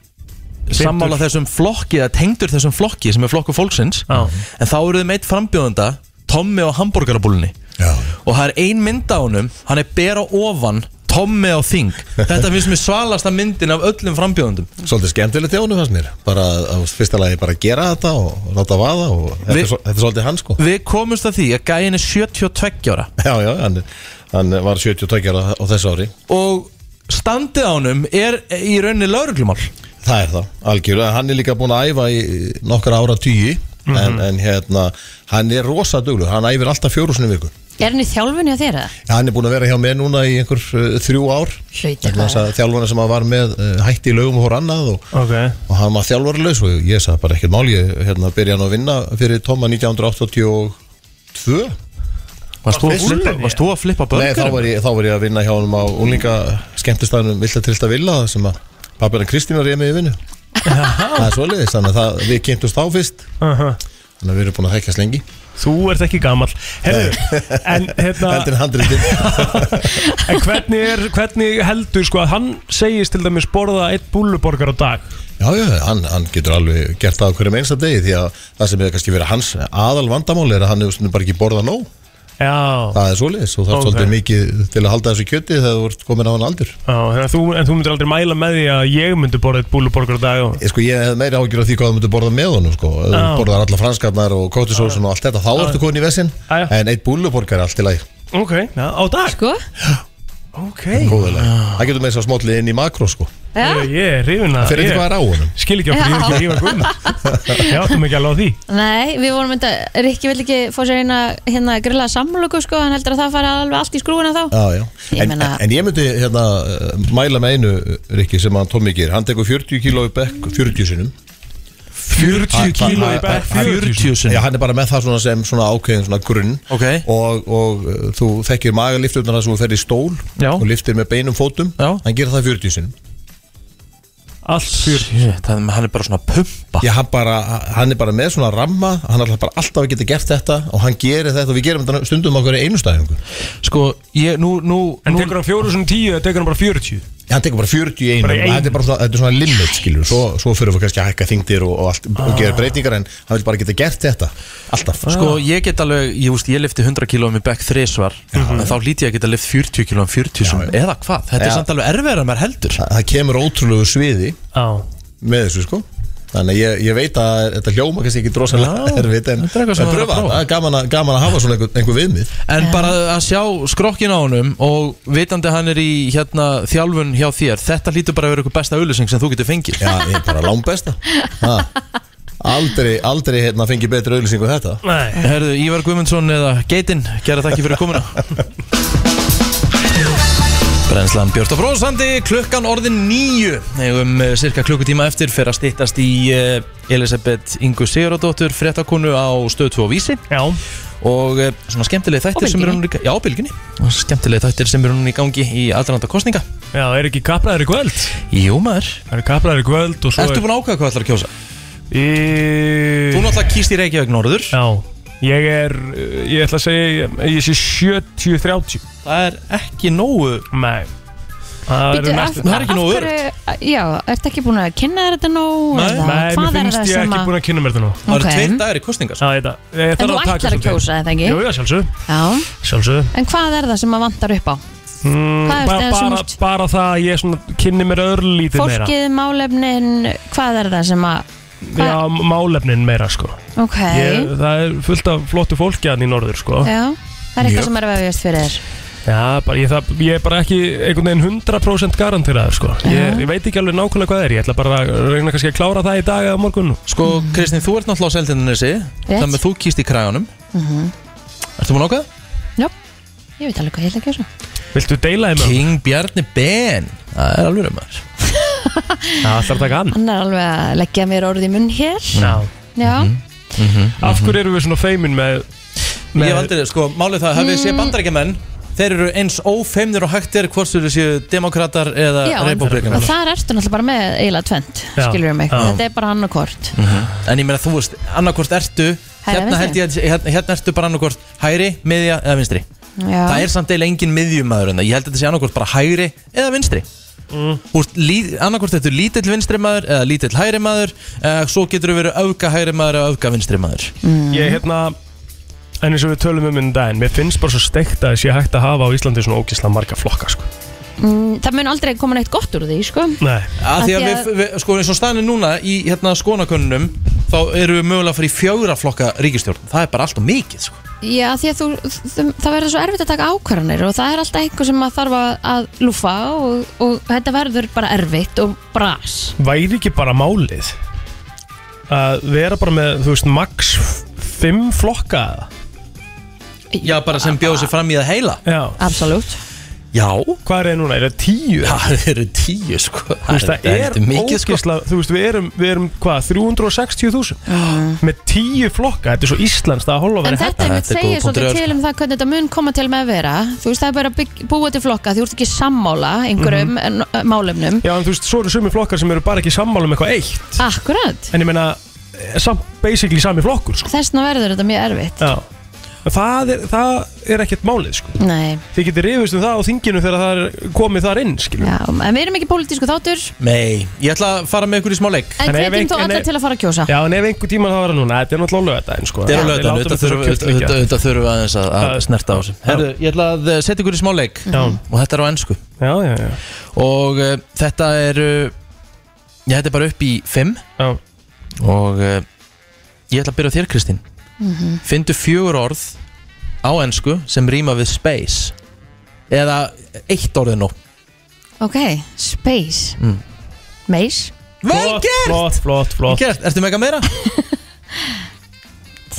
S2: sammála þessum flokki eða tengdur þessum flokki sem er flokku fólksins
S4: Já.
S2: en þá eru þeim eitt frambjóðanda Tommi á hambúrgarabúlunni
S9: Já.
S2: og það er ein mynd á honum hann er bera ofan Tommi á þing þetta finnst mér svalasta myndin af öllum frambjóðandum
S9: Svolítið skemmtilegt hjá honum fannst mér bara að að fyrsta lagi bara að gera þetta og láta vaða og þetta,
S2: Vi-
S9: er, svo- þetta er svolítið hann sko
S2: við komumst að því að gæin er 72 ára
S9: Já, já, hann, hann var 72 ára á þessu ári
S2: og standið á honum er í rauninni lauruglumál
S9: Það er það, algjörlega, hann er líka búin að æfa í nokkra ára tugi
S2: Mhm.
S9: en, en hérna, hann er rosa duglur hann æfir alltaf fjórusunum viku
S3: Er hann í þjálfunni á þér eða?
S9: Já, hann er búin að vera hjá mér núna í einhver uh, þrjú ár
S3: Hlauti
S9: Vegna þess að Þjálfarna sem hann var með uh, hætti í lögum og hór annað og,
S4: Ok
S9: og hann var þjálfarlaus og ég sagði bara ekkert mál ég hérna, byrja hann að vinna fyrir Tóma 1982
S2: Varst þú að
S4: Fyrst-
S2: flippa, varst þú að flippa
S9: Nei, þá
S2: börgur?
S9: var, ég, þá var ég að vinna hjá hann á úlinga skemmtistæðunum Vilta Trillta Villa þar sem að pappina Kristín var ég með í vinnu Það er svoleiðis, þannig að það, við kynntumst þá fyrst þannig að við erum búin að þekkjast lengi
S4: Þú ert ekki gamall Herðu, en hérna
S9: Eldin handritin
S4: [LAUGHS] En hvernig, er, hvernig heldur sko að hann segist til dæmis borða eitt búlluborgar á dag
S9: Já, já, hann, hann getur alveg gert það á hverjum einsta degi því að það sem hefur kannski verið hans aðal vandamál er að hann hefur svona bara ekki borðað nóg
S4: Já,
S9: það er svoleiðis og það er
S4: Ok.
S9: svolítið mikið til að halda þessu kjöti þegar þú ert komin á hann aldur
S4: já en, þú, en þú myndir aldrei mæla með því að ég myndi borða eitt búlluborgar á dag og...
S9: Ég, sko, ég hef meiri ágjur af því hvað þú myndir borða með honum sko. Ef þú
S4: Já.
S9: borðar alla franskarnar og kóttisósun og allt þetta þá ertu komin í vesinn
S4: Já, já.
S9: en eitt búlluborgar er allt í lagi
S4: Ok, já, á dag
S3: Sko?
S4: Ok
S9: Góðulega Það getur með þess að smótli inn í makró sko
S3: Já,
S4: Ég er hrifin að
S9: Það fyrir
S4: ég-
S9: eitthvað hvað er á honum
S4: Skil ekki okkur, ég er ekki að rífa guðna Ég áttum ekki alveg á því
S3: nei, við vorum mynda, Rikki vill ekki fá sér eina hérna grilla samlöku sko, hann heldur að það fara alveg allt í skrúuna þá.
S9: Já, já
S3: Ég
S9: En,
S3: meina-
S9: en ég myndi hérna eh, mæla með einu Rikki sem hann Tommy gerir Hann tekur 40 kíló í bekk 40 sinnum
S2: 40 kíló í
S9: bekk,
S2: bekk 40
S9: Já,
S2: sinni
S9: hann er bara með það svona sem svona ákveðin svona grunn
S2: Ok.
S9: og, og uh, þú þekkir magaliftur þannig að þú ferð í stól
S2: Já.
S9: og liftir með beinum fótum
S2: Já.
S9: hann gerir það 40 sinnum
S4: Allt fyrir
S2: Shit, hann hann er bara svona að pumpa
S9: Já, hann, bara, hann er bara með svona ramma hann er bara alltaf að geta gert þetta og hann gerir þetta og við gerum þetta stundum á hverju einustæðingu
S2: Sko, ég, nú, nú,
S4: En
S2: nú
S4: tekur hann fjóru svona tíu eða tekur hann bara 40
S9: hann tekur bara 40 í einum
S4: Bara í einum.
S9: þetta er bara svona, þetta er svona limit skilur svo, svo fyrir við kannski að hækka þingdir og, og, allt, og gera breytingar en hann vil bara geta gert þetta alltaf
S2: Ah. Sko, ég get alveg, ég veist, ég lifti 100 kílóum í bekk þrísvar En þá líti ég að geta lift 40 kílóum 40 sem, eða hvað Þetta er
S9: Mhm. Já.
S2: samt alveg erfiðar en maður heldur
S9: Þa, það kemur ótrúlegu sviði
S4: Á
S9: með þessu sko þannig að ég, ég veit að þetta hljóma kannski ekki drosalega
S2: Já,
S9: erfitt en,
S2: þetta er
S9: en
S2: eitthvað sem maður er að
S9: pröfa
S2: prófa.
S9: það er gaman að, gaman að hafa svona einhver, einhver viðmið
S2: En bara að sjá skrokkin á honum og vitandi að hann er í hérna þjálfun hjá þér Þetta hlýtur bara að vera eitthvað besta auðlýsing sem þú getur fengið
S9: já, ég er bara langbesta ha. aldrei, aldrei hérna fengi betri auðlýsingu þetta
S4: Nei
S2: Herðu, Ívar Guðmundsson eða Geitin, gera þakki fyrir komuna
S9: [LAUGHS]
S2: Brennslan Björn og Frósandi, klukkan orðin nýju Negum uh, cirka klukkutíma eftir fyrir að stýttast í uh, Elisabeth Ingu Sigurðardóttur fréttakonu á Stöð 2 og Vísi
S4: Já
S2: og uh, svona skemmtilegi þættir sem eru
S3: Bylgjunni.
S2: núna í- Já, bylginni Skemmtilegi þættir sem eru núna í gangi í aðrænda kostninga
S4: Já, er ekki kaplaður í kvöld?
S2: Jú maður
S4: Það er kaplaður í kvöld og svo
S2: Ertu
S4: er
S2: búin að ákvæða hvað ætlar að kjósa?
S4: Í-
S2: Þú náttúrulega kýst í Reykjavík norður
S4: Já Ég er, uh, ég ætla að segja, ég, ég sé 70-30
S2: Það er ekki nógu
S4: Nei Það
S3: Bíddu,
S4: eru
S3: af-
S4: næstu
S2: það er ekki
S3: af
S2: nógu
S3: hverju- Já, ertu ekki búin að kynna þér þetta nóg?
S2: Nei,
S3: eða
S4: Nei,
S3: hvað
S4: mér
S3: er
S4: finnst
S3: það
S4: ég
S3: sem
S4: ekki
S3: að-
S4: búin að kynna mér þetta nú
S2: Það eru
S3: Ok.
S2: tveir dagir í kostningar
S4: Já, ég þetta ég
S3: En
S4: þarf
S3: þú
S4: taka
S3: ætlar að
S4: svolítið.
S3: kjósa þetta ekki?
S4: Jú, já, sjálfsög,
S3: Já,
S4: sjálfsög
S3: en hvað er það sem að vantar upp á?
S4: mm,
S3: Hvað er
S4: bara,
S3: það sem
S4: bara,
S3: þú-
S4: bara það að ég svona kynni mér örlítið meira
S3: Fólkið, málefnin, hvað er það sem að hvað-
S4: Já, málefnin meira sko
S3: Ok,
S4: ég, Það er fullt af flottu fólki hann í norður sko
S3: já Það er eitthvað sem er að vefjast fyrir þér
S4: Já, bara, ég, það, ég er bara ekki einhvern veginn 100% garanteraður sko ég, ég veit ekki alveg nákvæmlega hvað það er Ég ætla bara að reyna kannski að klára það í dag eða á morgun
S2: Sko, Kristinn, þú ert náttúrulega á Seltjarnanesi Þannig að þú kýst í kræðanum Ertu búin ákveða?
S3: Mhm. Ég veit alveg hvað ég ætla að gera
S4: Viltu deila þeim? um?
S2: King Bjarni Ben Það er alveg maður
S4: Já, [LAUGHS] það er að taka hann
S3: Hann er alveg að leggja mér orðið í munn hér
S4: Já. Mhm.
S3: Já,
S4: Af hverju erum við svona feimin
S2: Mhm.
S4: með,
S2: Ég
S4: með Mm.
S2: hef aldrei, sko, málið það Hafið þið séð bandarækjumenn Þeir eru eins ófeimnir og hægt er hvort þau séu demokratar eða
S3: já en- og
S2: republikamenn
S3: þar ertu náttúrulega bara með eiginlega tvent
S4: Já.
S3: Skilur mig,
S4: Já.
S3: þetta er bara hann og kort
S2: Mhm. En ég meina þú veist, annarkvort ertu Hérna,
S3: vinstri.
S2: held ég, að- hérna, hérna ertu bara annarkvort hægri, miðja eða vinstri
S3: Já,
S2: Það er samt eiginlega engin miðjumæður en það Ég held að þetta sé annarkvort bara hægri eða vinstri
S4: Mm.
S2: Úst, lí, annarkvort þetta er lítill vinstri maður eða lítill hægri maður eða svo getur þú verið öfga hægri maður eða öfga vinstri maður
S3: Mhm.
S4: Ég hérna En eins og við tölum um um daginn, mér finnst bara svo steikt að þessi hægt að hafa á Íslandi svona ógisla marga flokka sko.
S3: Mm, það mun aldrei koma neitt gott úr því, sko
S4: Nei,
S2: að því að
S3: Af því
S2: við, við, sko eins og staðinu núna í hérna skonakönnunum þá eru við mögulega að fara í fjögra flokka ríkistjórn það er bara allt og mikið sko
S3: Já, því að þú, þú- það verður svo erfitt að taka ákvarðanir og það er alltaf einhver sem að þarf að- að lúfa og, og þetta verður bara erfitt og bras
S4: væri ekki bara málið að vera bara með, þú veist, max fimm flokka eða?
S2: Já, bara sem bjóðu sér fram í það heila
S4: Já,
S3: Absolutt
S2: Já,
S4: hvað er það núna, er það tíu?
S2: það eru tíu sko
S4: Þú veist, það er
S2: heldur
S4: ógisla, þú veist, við erum, við erum hvað, 360.000 með tíu flokka, þetta er svo Íslands það að hola að
S3: En
S4: vera
S3: þetta er mitt
S2: þetta er
S3: segir
S2: góður punktur,
S3: svolítið
S2: sko.
S3: til um það hvernig þetta mun koma til með að vera Þú veist það er bara að bygg- búa til flokka Þú ert ekki sammála einhverjum mm málefnum
S4: Já, en þú veist, svo eru sumi flokkar sem eru bara ekki sammála um eitthvað eitt
S3: Akkurat
S4: en ég meina, eh, samt basically sami flokkur sko.
S3: Þessna verður þetta mjög erfitt
S4: Já Það er, það er ekkert málið sko
S3: Nei,
S4: Þið getur rifist um það á þinginu þegar það er komið þar inn skilur
S3: já, en við erum ekki pólitísku þáttur
S2: Nei, ég ætla að fara með ykkur í smá leik
S3: En
S4: En ef
S3: hvetjum
S4: ein-
S3: þó
S4: en
S3: alla
S4: ef-
S3: til að fara að kjósa
S4: Já, en ef einhver tíma það var núna, þetta er náttúrulega lögðaðin sko.
S2: Þetta er á
S4: Við látum
S2: lögðan,
S4: þetta svo kjúkt liggja.
S2: auðvitað þurfum við aðeins að, að
S4: Það-
S2: snerta á þessu Herru, ég ætla að eh, setja ykkur í smá leik
S4: Já.
S2: og þetta er á ennsku
S4: Já, já, já,
S2: og uh, þetta er uh, ég hætti bara upp í 5
S4: já.
S2: og uh, ég ætla að byrja á þér Kristín
S3: Mhm.
S2: Fyndu fjögur orð á ennsku sem rýma við space eða eitt orðið nóg
S3: Ok, space mm. Meis,
S2: Vel gert!
S4: Flott, flott,
S2: Vel
S4: flott
S2: gert, ertu með eitthvað meira?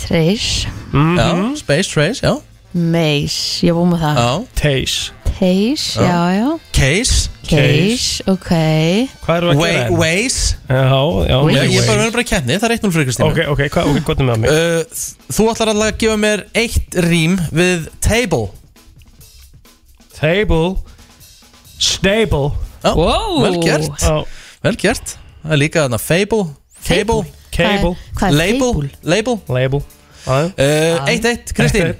S3: treis
S4: Mhm.
S2: Já, space, trace, já,
S3: Meis, ég búið með það
S2: já
S4: Teis
S3: Teis, já, já
S2: Case,
S3: Keis, ok
S4: Hvað erum við að
S2: way,
S4: gera? hérna? enn?
S2: ways
S4: Já, já,
S3: Wait,
S2: Ég
S4: wait,
S2: ég er bara
S4: wait.
S2: verið bara að kenni, það er 1-0 fyrir Kristínu
S4: Ok, ok, hvað ok, hvað er með mig?
S2: Uh, Þú ætlar alltaf að gefa mér eitt rím við table
S4: Table Stable
S2: Já,
S3: Wow.
S2: Vel gert,
S4: Já,
S2: vel gert Það er líka þarna fable Fable,
S4: Cable
S3: Hvað er
S2: Label,
S3: label?
S2: label
S4: Label Já, já.
S2: Uh, 1-1, Kristín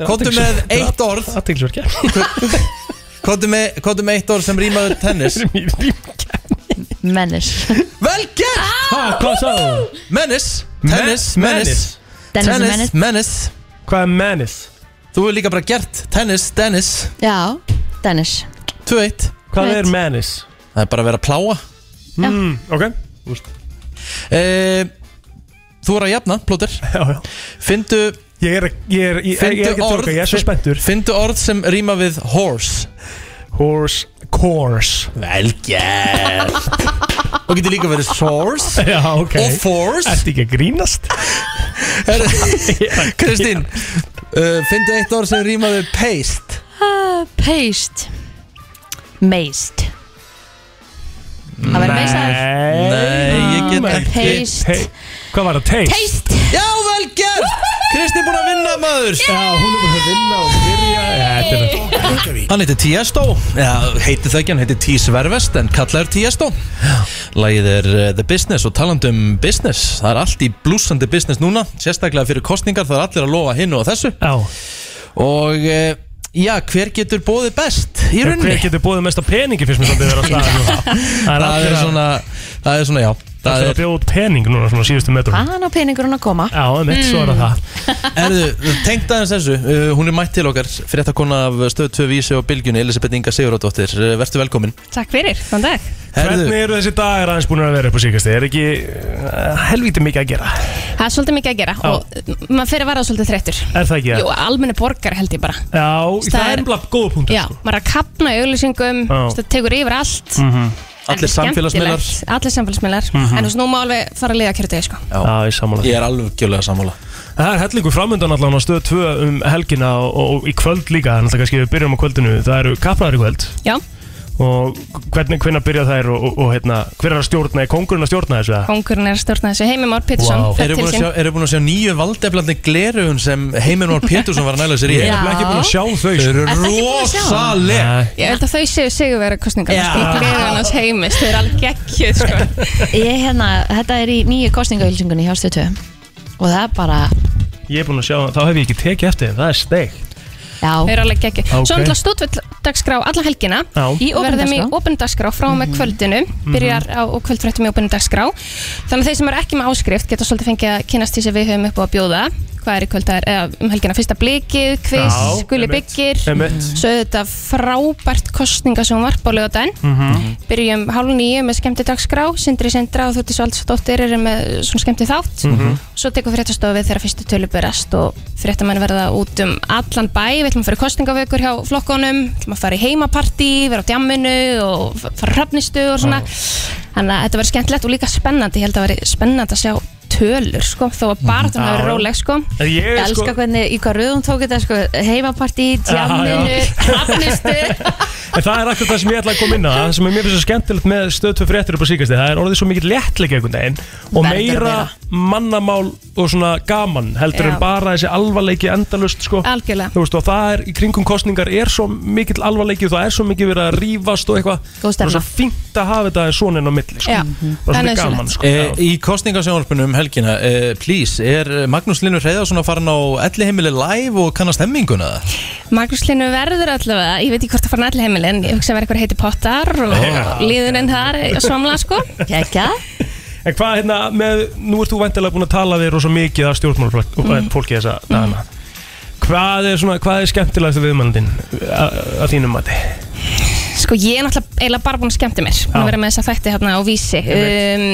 S2: Komdu með eitt orð
S4: Aðtilsverkja
S2: Komdu með, komdu með eitt orð sem rýmaður tennis
S3: Menis
S2: Vel gert!
S4: Hvað sagði það?
S2: Menace, tennis, menace
S3: Dennis og
S2: Tennis,
S3: Menis
S2: menace
S4: Hvað er menis?
S2: Þú er líka bara gert tennis, dennis
S3: [LAUGHS] Já, Dennis
S2: 2-1
S4: Hvað
S3: Right.
S4: er menis?
S2: Það er bara að vera að pláa
S4: Mm, ok
S2: uh, Þú er að jafna, plóter
S4: [LAUGHS] Já, já
S2: Findu,
S4: Ég er, ég er, ég er, ég er
S2: findu
S4: ekki að tjóka, ég er svo spenntur
S2: Findu orð sem rýma við horse
S4: Horse Course
S2: Vel
S4: [LAUGHS]
S2: gert Og getur líka verið source
S4: Já, ok
S2: og force
S4: Ertu ekki
S2: [LAUGHS]
S4: að grínast? [LAUGHS]
S2: Herru, Kristín uh, Findu eitt orð sem rýma við paste
S3: uh, Paste Meist Það verður meisaður
S2: Nei, ég get
S4: Nei.
S2: ekki.
S3: Paste.
S4: Hey, Hvað var það? Taste?
S3: Taste
S2: Já, vel gert Kristín búin að vinna maður
S4: Já, hún er búin að vinna og byrja Já, Þetta er það
S2: Hann heitir Tiesto Já, heitir það ekki, hann heitir Ties Vervest En kallaður Tiesto Lægið er uh, The Business og talandi um business Það er allt í blúsandi business núna Sérstaklega fyrir kostningar, það er allir að lofa hinnu og þessu
S4: Já,
S2: Og uh, já, hver getur bóðið best í
S4: hver
S2: rauninni?
S4: getur búið mest á peningi fyrst mér svolítið vera á staðar
S2: [LAUGHS]
S4: núna Það er
S2: Það
S4: allir
S2: er
S4: að
S2: svona, það er svona, já
S4: Það
S2: Það
S4: er að
S2: er,
S4: bjóða út pening núna svona á síðustu metrum
S3: Hvaðan á peningurinn að koma? Mm.
S4: Já, um mitt svo er það það
S10: Hmm.
S2: erðu, tengt aðeins þessu uh, Hún er mætt til okkar, fréttakona af Stöð 2 Vísi og Bylgjunni, Elisabeth Inga Sigurðardóttir uh, Vertu velkomin
S10: Takk fyrir, góðan dag
S2: Herðu,
S4: Hvernig eru þessi dagar aðeins búin að vera upp á síkast Er ekki uh, helvítið mikið að gera
S10: Það er svolítið mikið að gera
S4: Já.
S10: og eh, maður fyrir að vara svolítið þreyttur
S4: Er það ekki?
S10: Jú, almenni borgar held ég bara
S4: Já, það
S10: Það
S4: er
S10: er-
S4: ennblá góða punktur sko.
S10: Já, maður er að kapna í auglýsingum
S4: Já.
S10: það tekur yfir allt mm
S4: Mhm.
S2: allir samfélagsmiðlar
S10: Allir samfélagsmiðlar En þú veist, nú má alveg fara að liða kjörðu sko.
S4: Já, ég samanlega
S2: Ég er alvegjulega sammála
S4: Það er hellingu framöndan allan á stöð 2 um helgina og, og í kvöld líka, þannig að kannski við byrjum á kvöldinu Það eru kappnaðar í kvöld
S10: Já,
S4: og hvernig, hvernig byrja þær og, og, og hérna, hver er að stjórna, er kongurinn að stjórna þessu? eða?
S10: kongurinn er að stjórna þessu Heimir Már Pétursson
S4: Vá.
S10: wow.
S2: Eru búin, að sjá, eru búin að sjá nýju valdeflandi glerugun sem Heimir Már Pétursson var að næla sér í?
S4: Ég er
S10: Já.
S4: nefnilega ekki búin að sjá þau
S2: Þau
S4: sko.
S2: eru
S10: Ertu ekki búin að sjá það?
S2: rosaleg
S4: Nei.
S10: Ég held að þau séu sigurvera kostningar
S2: Já.
S10: sko. Gleður hans heimis, þau eru alveg geggjuð sko.
S3: Ég hérna, þetta er í nýju kostningaulsingunni hjá stötu Og það er bara,
S4: Ég er búin að sjá það, þá hef ég ekki tekið eftir þeim, það er steikt
S10: Þau
S3: já
S10: eru alveg geggjuð
S4: Ok.
S10: Svo náttúrulega stúdvill alla helgina
S4: Já.
S3: Í
S10: verðum í
S3: opindagskrá
S10: opendagskrá frá og með kvöldinu byrjar
S4: Mhm.
S10: á og kvöldfréttum í opendagskrá þannig að þeir sem eru ekki með áskrift geta svolítið fengið að kynast því sem við höfum upp á að bjóða hvað er í kvöld, það er eða, um helgina fyrsta blikið quiz,
S4: Já,
S10: gulli
S4: einmitt.
S10: byggir
S4: Einmitt.
S10: svo er þetta frábært kostninga sem varp á lögadaginn
S4: Mhm.
S10: Mhm. byrjum hálf nýju með skemmti dagskrá Sindri Sindra og Þúrtís Valdsdóttir eru með svona skemmti þátt svo tekur fréttastofið þegar fyrstu tölu berast og fréttamenn verða út um allan bæ, við ætlum að fara í kostningavökur hjá flokkonum, ætlum að fara í heimapartí vera á djamminu og f- fara hrafnistu og svona, þannig að þetta verður skemmtilegt og líka spennandi, ég held að verði spennandi að sjá tölur, sko, þó að bara þannig að
S4: Já,
S10: vera
S4: já.
S10: róleg, sko
S4: En Ég
S3: Ég
S4: er sko,
S3: elska hvernig í hvað röðum tók þetta sko, heimapartí, tjamminu,
S4: Já, [LAUGHS]
S3: hafnistu
S4: en það er akkur það sem ég ætla að koma inn á Það sem er mér finnst svo skemmtilegt með stöð 2 fréttir upp á síkast Það er orðið svo mikill léttleik einhvern veginn Og
S3: Verður
S4: meira
S3: meira.
S4: mannamál og svona gaman Heldur
S10: Já.
S4: en bara þessi alvarleiki endalust sko.
S10: Algjörlega.
S4: Þú veist og það er í kringum kostningar er svo mikill alvarleiki og Það er svo mikið verið að rífast og eitthvað
S3: Góð
S4: Það
S3: stemma.
S4: er svo fínt að hafa þetta svona inn á milli sko.
S10: Já,
S4: Bara
S10: það er
S4: svona
S10: nauðsynlegt.
S4: gaman sko.
S2: E,
S4: Já.
S2: í kostningasjónarpinu um helgina, e, please, er Magnús Linur Hreiðarsson að fara á elli heimili live og kanna stemminguna?
S10: Magnús Linnu verður allavega, ég veit ekki hvort það fara allir heimil en ég hugsa að vera eitthvað heiti pottar og líðurinn þar að svamla sko
S3: Kekja
S4: En hvað hérna með, nú ert þú væntilega búin að tala við rosa mikið af stjórnmálafólki mm. fólki þessa dagana Hvað er, svona, hvað er skemmtilegast viðmannandinn að að þínum mati?
S10: Sko ég er náttúrulega eiginlega bara búin að skemmta mér Búin að vera með þessa þætti hérna á vísi um,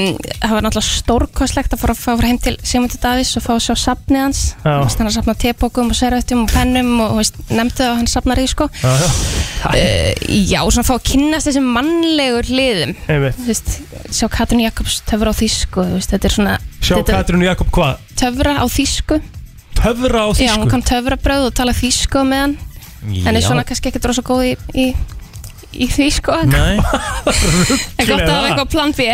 S10: Það var náttúrulega stórkostlegt að fara að fara heim til Sigmundur Davís og fá að sjá safnið hans
S4: Já.
S10: Þannig að safna tepókum og servettum og pennum og þú veist, nefndi það að hann safnar í sko
S4: Já, já.
S11: Mhm.
S10: Uh, já, svona fá að kynnast þessum mannlegur hliðum
S4: Einmitt.
S10: Þú veist, Sjá Katrin Jakobs töfra á þýsku þú veist, Þetta er svona
S4: Sjá
S10: þetta,
S4: Katrínu Jakob hvað?
S10: töfra á þýsku
S4: Töfra á
S10: Já, hún
S4: þýsku?
S10: kann töfra bröð og tala þýsku með hann En er svona kannski ekkert rosa góð í, í, í því sko [LAUGHS]
S4: [LAUGHS]
S2: Nei
S10: En gott að hafa eitthvað plan
S2: [LAUGHS]
S10: B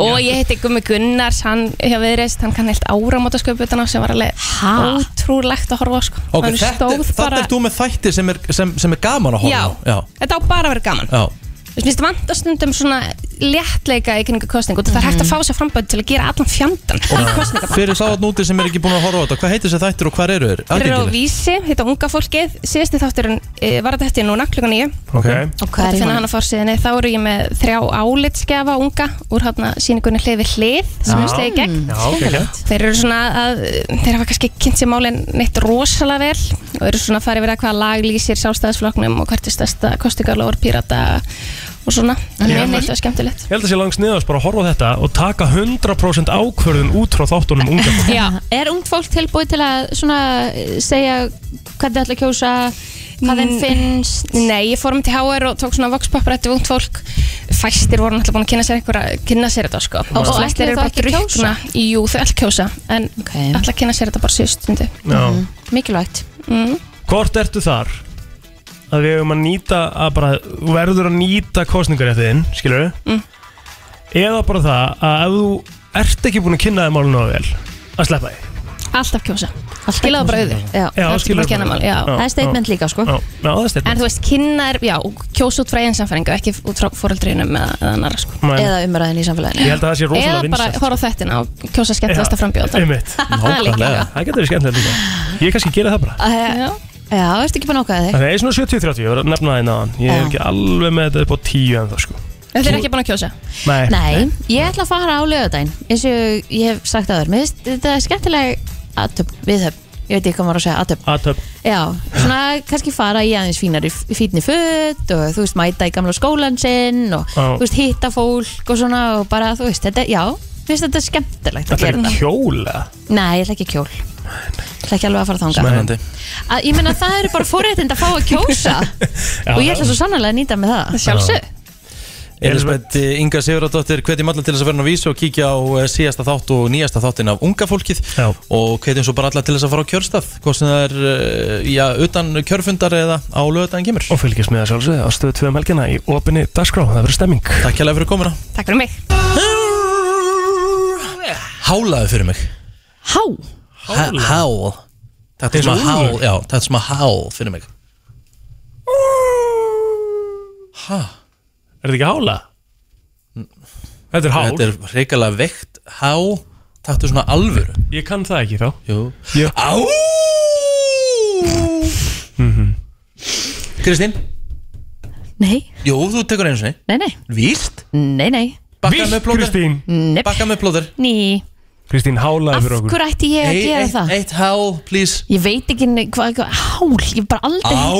S10: Og ég heiti Gummi Gunnars Hann hjá viðreist, hann kann heilt áramótasköp utan á sem var alveg
S3: Ha?
S10: ótrúlegt að horfa á sko
S2: Ok,
S10: Hann
S2: þetta,
S10: stóð
S2: þetta
S10: bara-
S2: er þú með þætti sem er, sem, sem er gaman að horfa á.
S10: Já, þetta á bara að vera gaman
S2: Já,
S10: Þú veist, minnst vant að stundum svona léttleika í kynningu kostning og það er
S2: Mhm.
S10: hægt að fá sér framböð til að gera allan fjandan í
S2: já. Fyrir sáðan úti sem er ekki búin að horfa á þetta Hvað heitir þessi þættir og hvað eru þeir?
S10: Þeir eru á
S2: Aðgengilegir?
S10: vísi, heita unga fólkið síðasti þátturinn e, var þetta eftir núna klukkan nýju
S4: Ok,
S3: Og hvað
S10: þetta
S3: er í
S10: finna
S3: honum?
S10: hann að fórsiðinni þá eru ég með þrjá álitskefa unga úr hana síningunni hlið við hlið sem við stegið gegn
S4: já, ok, ok
S10: Þeir eru svona að, þeir hafa kannski kynnt sér málinn neitt rosalega vel og eru svona að fara yfir að hvaða lag lýsir sjálfstæðisflokknum og hvert er stærsta kostingarlóður pírata og svona. Það
S4: Já.
S10: er neitt að skemmtilegt.
S4: Ég held að sé langs niðast bara að horfa á þetta og taka 100% ákvörðun út frá þáttunum unga fólk.
S10: Já,
S3: Er ungt fólk tilbúið til að svona eh, segja hvað þið ætla að kjósa hvað þeim
S10: Mm.
S3: finnst
S10: Nei, ég fór um til HR og tók svona voxpapparætti við ungt fólk Fæstir voru náttúrulega búin að kynna sér, einhverja, kynna sér þetta sko
S3: Og- og ætluðu
S10: flestir
S3: þá ekki að
S10: drukkna.
S3: kjósa?
S10: Jú, þau ætla að kjósa En
S3: Ok.
S10: okay. ætla að kynna sér þetta bara síðust stundu Mhm.
S4: Já.
S3: Mikilvægt
S10: mm.
S4: Hvort ertu þar að við hefum að nýta að bara, þú verður að nýta kostningaréttiðinn, skilur við
S10: Mm.
S4: eða bara það að ef þú ert ekki búin að kynna þér málun á vel að sleppa því
S10: Alltaf kjósa Skilaðu bara auðu
S3: Já.
S4: Já,
S10: Ertu bara
S4: skilurðu
S10: að kenna
S4: bara.
S10: mál, já.
S3: Það er statement líka sko
S4: Já, já, það er
S10: En
S4: stefnir
S10: þú veist, kynna er, já, kjósa út frá einn samfæringu Ekki út frá fóreldrinum eða, eða annara sko
S3: Eða umræðin í samfélaginu
S4: Ég held að það sé
S10: Eða
S4: rosalega
S10: bara
S4: vinsælt
S10: horfa á þettina og kjósa skemmtilegasta frambjóðan [LAUGHS]
S4: Einmitt.
S10: Það er líka
S2: Nákvæmlega.
S4: Það getur verið skemmtilegt líka Ég kannski gera það bara
S3: Eh,
S10: Já,
S3: Já, ertu ekki búin að
S10: Eh?
S3: ákvæða þig?
S4: Það er svona 70-30, ég var að nefna það innan Ég er
S3: Já.
S4: ekki alveg með þetta upp á 10 en það sko
S10: En þeir eru ekki búin að kjósa
S4: Nei,
S3: Nei, ég ætla að fara á lögadaginn eins og ég hef sagt aður Mér finnst þetta er skemmtileg aðtöp, viðhöp Ég veit ekki hvað maður á að segja, aðtöp
S4: aðtöp
S3: Já, svona kannski fara í aðeins fínari fínni föt og þú veist mæta í gamla skólan sinn og
S4: Já.
S3: þú veist hitta fólk og svona og bara þú veist þetta, já, finnst þetta skemmtilegt að
S4: Þetta er
S3: gera þetta
S4: kjóla
S3: Nei, ég ætla ekki í kjól Ég ætla ekki alveg að fara þangað
S2: Spennandi.
S3: að, Ég meina það eru bara fórréttind að fá að kjósa
S4: [LAUGHS] Já,
S3: og ég ætla svo sannarlega að nýta með það
S10: Sjálfsög
S2: Elisabeth eh, Inga Sigurðardóttir hvetjum alla til þess að vera á vísu og kíkja á eh, síðasta þátt og nýjasta þáttin af unga fólkið
S4: Já.
S2: og hvetjum svo bara alla til þess að fara á kjörstað hvort sem það er, eh, já, utan kjörfundar eða á lögadaginn kemur
S4: Og fylgjast með það sjálfsögðu á stöðu 2 um helgina í opinni dagskrá, það verður stemming
S2: Takk hérlega fyrir komuna
S10: Takk fyrir mig
S2: Hálaðu fyrir mig
S3: Há,
S2: Há Há Þetta er svona há, já, þetta er svona há fyrir mig Hæ?
S4: Er þetta ekki hála? Þetta er hál,
S2: Þetta er reikalega veikt há Þetta er svona alvöru
S4: ég kann það ekki þá
S2: Jú
S4: Já.
S2: Á Kristín
S3: nei,
S2: Jú, þú tekur einu sinni
S3: nei, nei,
S2: Víst
S3: nei, nei,
S2: Bakka
S4: Vilt
S2: með plóður
S4: Kristín
S3: nei,
S2: Bakka með plóður
S3: ný
S4: Kristín hálaði
S3: Af
S4: fyrir okkur
S3: hverju ætti ég að gera
S2: eitt,
S3: það?
S2: eitt há, please
S3: Ég veit ekki ne- hvað, hvað, hál, ég hef bara aldrei
S2: Á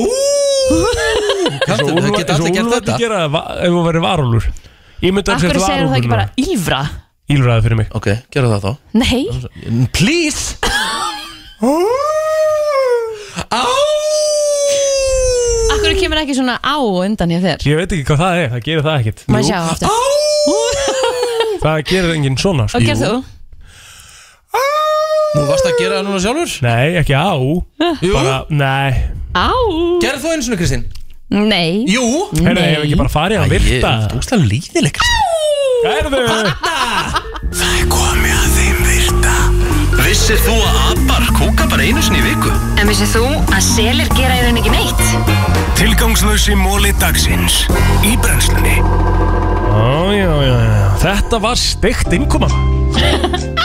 S2: Kanntu,
S4: Úlfar-
S2: það geta
S4: eins og
S2: allir gert
S4: Úlfar
S2: þetta
S4: myndi gera va- ef þú verið varúlur Ég
S3: Akkur
S4: myndi alveg
S3: segir það ekki bara
S4: núna.
S3: Ífra?
S4: Ílfraði fyrir mig
S2: Ok, gera það þá
S3: Nei,
S2: Please Á
S3: akkur kemur ekki svona á undan hjá þér
S4: Ég veit ekki hvað það er, það gerir það ekkit
S3: Má sjá aftur
S4: Það gerir enginn svona sko.
S3: Og gerð þú?
S2: Nú varst að gera það núna sjálfur
S4: Nei, ekki á
S2: Jú
S4: bara, Nei,
S3: Á
S2: Gerð þú einu sinni Kristín
S3: Nei
S2: Jú
S4: heyrðu, ég hef ekki bara farið að virta
S2: Þú veist að líðileg
S4: Heyrðu,
S1: Það er komið að þeim virta Vissir þú að abar kúka bara einu sinni í viku?
S12: En vissið þú að selir gera í rauninni ekki neitt?
S1: Tilgangslösi móli dagsins Í brennslunni
S4: Ó, já, já, já. Þetta var steikt innkoma Á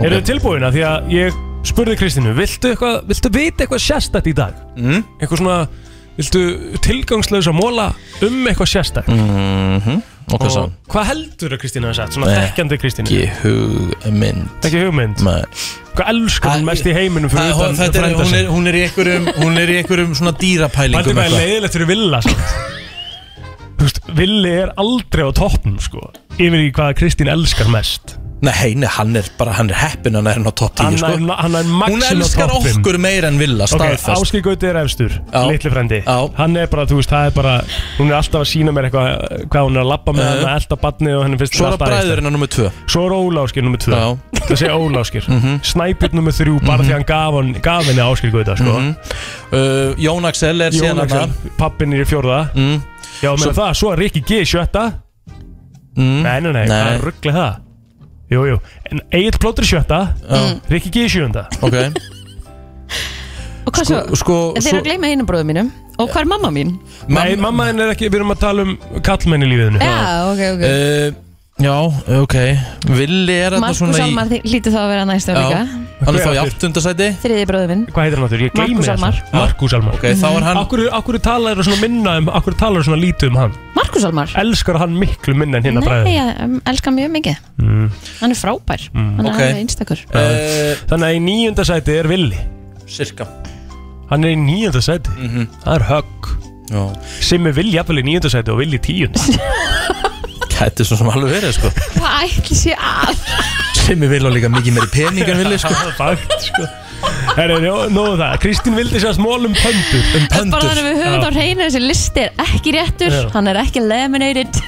S4: Eru þið tilbúin að því að ég spurði Kristínu Viltu, eitthvað, viltu vita eitthvað sérstætt í dag? Mm. Eitthvað svona Viltu tilgangslösa móla um eitthvað sérstætt?
S2: Ok,
S4: Og
S2: svo
S4: hvað heldur að Kristínu hafa sagt? Svona
S2: Mhm. Nei.
S4: þekkjandi Kristínu
S2: Ekki hugmynd
S4: Ekki hugmynd
S2: Nei.
S4: Hvað elskar hún
S2: Æ,
S4: mest í heiminum
S2: Æ,
S4: fyrir
S2: hún-
S4: utan
S2: Þetta er,
S4: frænda
S2: hún er,
S4: sinn? [LAUGHS]
S2: hún er í einhverjum Hún er í einhverjum svona
S4: Þetta
S2: dýrapælingum
S4: er bara
S2: eitthvað.
S4: leiðilegt fyrir Villa samt. Villi er aldrei á toppnum sko Yfir í hvað Kristín elskar mest
S2: Nei, nei, hann er bara, hann er heppin hann er hann á topp 10
S4: Hann
S2: sko.
S4: er- hann er
S2: Hún
S4: maximum
S2: elskar
S4: toppin.
S2: okkur meira en Villa, staðfest
S4: Ok, Áskei Gauti er efstur, litli frendi Hann er bara, þú veist, það er bara Hún er alltaf að sína mér eitthvað Hvað hún er að labba með,
S2: Já, já.
S4: hann er alltaf badni og henni finnst
S2: Eh. Svo er
S4: alltaf
S2: bræðurinn
S4: æðisleg.
S2: á nummið 2
S4: Svo er Óláskir nummið 2 Það segja Óláskir mm
S2: Mhm.
S4: Snæbjörn nummið 3 bara því hann gaf, hann, gaf henni Áskei Gauta sko.
S2: Mhm. uh, Jón Axel er síðan
S4: Axel,
S2: hann
S4: pappinn er í fjórða
S2: mm.
S4: Já,
S2: Svo-
S4: meina það, svo er Rikki G í sjötta
S2: mm.
S4: Nei, nei, nei,
S2: Nei.
S4: það er ruggli það Jú, jú, en Egil Plóttur í sjötta Rikki G í sjönda
S2: Ok
S3: Og hvað svo?
S4: sko,
S3: En þeir eru að gleyma einu bróðu mínum Og hvað er mamma mín?
S4: Nei, mamma henn er ekki, við erum að tala um kallmenn í lífinu
S3: Já, ok, ok
S2: uh, Já, ok Villi er þetta
S3: Markus
S2: svona í
S3: Almar þi- hlýtur þá að vera næstum líka
S2: Hann er þá í áttundasæti
S3: Þriði bróðu minn
S4: Hvað heitir hann áttur? Ég gleymi
S3: Markús
S4: þessu.
S3: Almar. Mhm.
S4: Markús Almar
S2: Ok, þá er hann-
S4: Akkur, akkur talar þú svona minna um, akkur talar þú svona lítið um hann
S3: Markus Almar?
S4: Elskar hann miklu minna en hinn að
S3: Nei,
S4: bræða
S3: ég um, elska hann mjög mikið
S4: mm.
S3: Hann er frábær
S4: Mm.
S3: Hann er
S4: Ok.
S3: alveg einstakur
S2: Eh,
S4: Þannig að í níunda sæti er Villi
S2: Cirka
S4: Hann er í níunda sæti Það er högg
S2: Mhm. Já.
S4: Simmi Villi jafnvel í níunda sæti og Villi í tíundi
S2: [LAUGHS] Þetta er svo sem alveg verið sko
S3: Hvað ætli sé að?
S2: Simmi vil á líka mikið meiri pening en Villi sko
S4: Það er [LAUGHS] fakt sko Herri, njó, nóðu það Kristín vildi sér smól um pöndur
S2: Um
S3: Bara þannig að við höfum þá hreinu þessi listi er ekki réttur
S4: Já.
S3: Hann er ekki laminated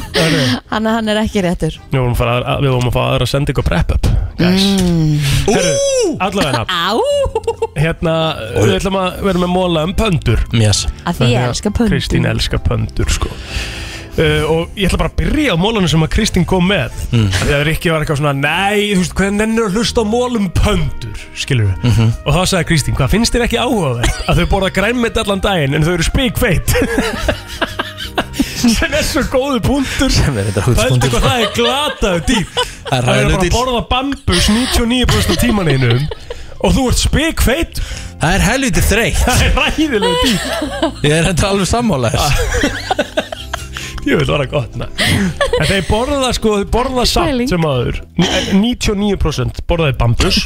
S3: [LAUGHS] Hann, hann er ekki réttur
S4: Nú vorum að fara aðra- við vorum að fá aðra að senda ykkur prep up Guys
S3: Mm.
S4: Herru, allavega
S3: Á
S4: Hérna, við ætlum að vera með móla um pöndur
S2: yes.
S3: Að því ég elska pöndur.
S4: Kristín elskar pöndur sko. uh, Og ég ætla bara að byrja á mólanu sem að Kristín kom með mm. Þegar Rikki var eitthvað svona Nei, þú veist, hvernig nennir að hlusta á mólum pöndur Skilur við
S2: Mhm.
S4: Og þá sagði Kristín, hvað finnst þér ekki áhugavert Að þau borða grænmett allan daginn En þau eru spikfeitt Sem er svo góðu punktur
S2: Sem er þetta
S4: Pældu
S2: húðspunktur,
S4: hvað
S2: sko.
S4: það er glataðu dýr
S2: [LAUGHS] Það er
S4: Það er bara að
S2: hræðilegur
S4: borða bambus 99% af tímaninum Og þú ert spikfeitt
S2: Það er helviti þreytt
S4: Það er ræðileg dýr
S2: Ég er þetta alveg sammála þess
S4: [LAUGHS] Jú, það Ah. var að gott na. En þeir borða sko, þeir borða samt sem eh, aður 99% borðaði bambus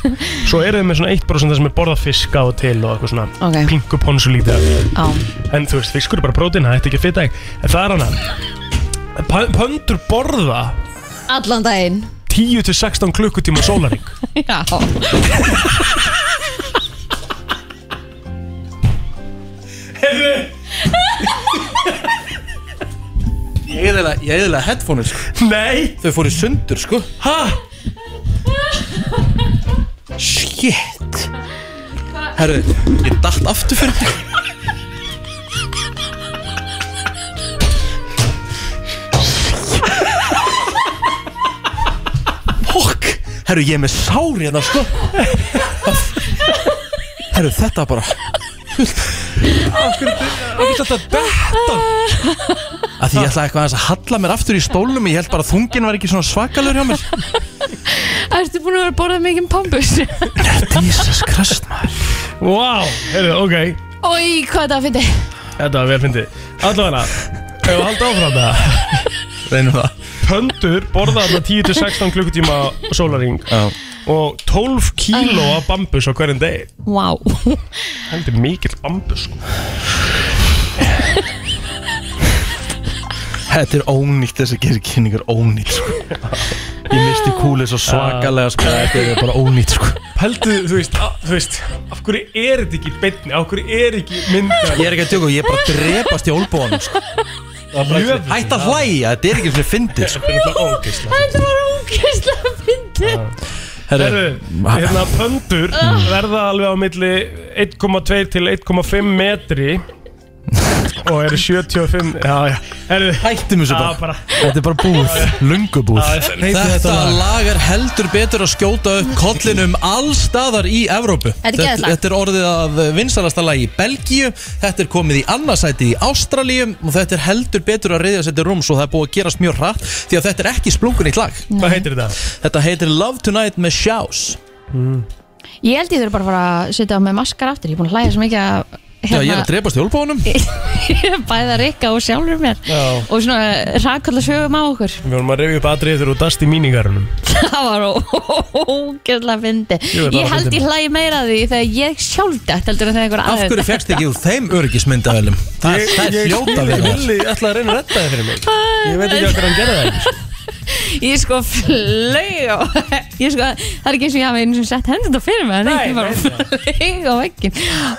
S4: Svo eru þeir með svona 1% sem er borða fiska og til og eitthvað svona
S3: Ok.
S4: pinku ponsulítið
S3: Á.
S4: En þú veist, fiskur er bara prótín, það ætti ekki að fita ekki En það er hana P- Pöndur borða
S3: Allan [LAUGHS] daginn
S4: 10-16 klukkutíma sólaring
S3: Já
S4: Hefðu
S2: Ég eðla, ég eðla headphone sko
S4: Nei
S2: Þau fóru í sundur sko
S4: Ha?
S2: Shit Herru, ég datt aftur fyrir mig Fokk Herru, ég er með sári hérna sko Herru, þetta var bara
S4: Akkur þetta detta
S2: að Því ég ætlaði eitthvað aðeins að halla mér aftur í stólnum Ég held bara að þungin var ekki svona svakalur hjá mér
S3: [LAUGHS] Ertu búin að vera að borða mikið pambus?
S2: [LAUGHS] Jesus Christ maður
S4: Vá, wow. hefðu, ok
S3: Ói, hvað það finnir
S4: Þetta var vel fyndið Allavega, ef við haldum áfram það
S2: Reynum það
S4: Pöndur borða þarna 10-16 klukkutíma sólaring
S2: Já.
S4: Og 12 kíló af bambus á hverjum degi
S3: Vá
S4: Heldur mikill bambus sko.
S2: Þetta er ónýtt, þess að gera kynningar ónýtt sko. Ég misti kúlið svo svakalega sko. Þetta er bara ónýtt sko.
S4: Heldur, þú veist, að, þú veist Af hverju er þetta ekki í beinni Af hverju er ekki mynda
S2: Ég er ekki að tjóka, ég er bara að drepast í ólbóðanum sko. Hætt að hlæja, þetta er ekki fyrir fyndið sko.
S3: Þetta var ógeðslega fyndið Ah.
S2: Herru,
S4: Herru, hérna pöndur verða alveg á milli 1,2 til 1,5 metri og eru 75 já, já, herru
S2: hættum þessu
S4: Já,
S2: bara
S4: bara
S2: Þetta er bara búð, lungubúð
S4: Já, þetta- heiti
S2: Þetta
S4: þetta lag.
S2: lag er heldur betur að skjóta upp kollinum allstaðar í Evrópu
S3: Þetta er geðslag.
S2: þetta er orðið að vinsalasta lag í Belgíu Þetta er komið í annarsæti í Ástralíu og þetta er heldur betur að reyðja sæti rúms og það er búið að gerast mjög hratt því að þetta er ekki splungun í lag
S4: Hvað heitir þetta?
S2: Þetta heitir Love Tonight með Shouse
S3: Ég held ég þurfa bara að hérna, fara að setja á með maskar aftur Ég er búin að hlæja svo mikið að
S2: Já, ég er að drepast í
S3: [LAUGHS]
S2: hjólbónum
S3: bæða Rikka og sjálfur mér
S4: Já.
S3: og svona rakalla sögum á okkur
S4: Við vorum að reyfi upp atrið þegar þú dast í míningarunum
S3: [LAUGHS] það var ó- ógeðslega fyndi
S4: Jú, það var
S3: ég held
S2: fyndið.
S3: ég hlæg meira að því þegar ég sjálf dætt heldur en þegar einhver
S2: Af
S3: aðeins
S2: hverju fegst ekki úr þeim örgismyndaðilum? Það
S4: Ég-
S2: það er
S4: ég
S2: fljóta
S4: skil-
S2: við
S4: Villi ætlaði að reyna að redda þið fyrir mig Ég veit ekki af hverju hann gerði það ekki,
S3: [LAUGHS] ég sko flög og [LAUGHS] ég sko, það er ekki eins og ég hafi einu sem sett hendur þetta fyrir mig, þannig ég bara flög á veggin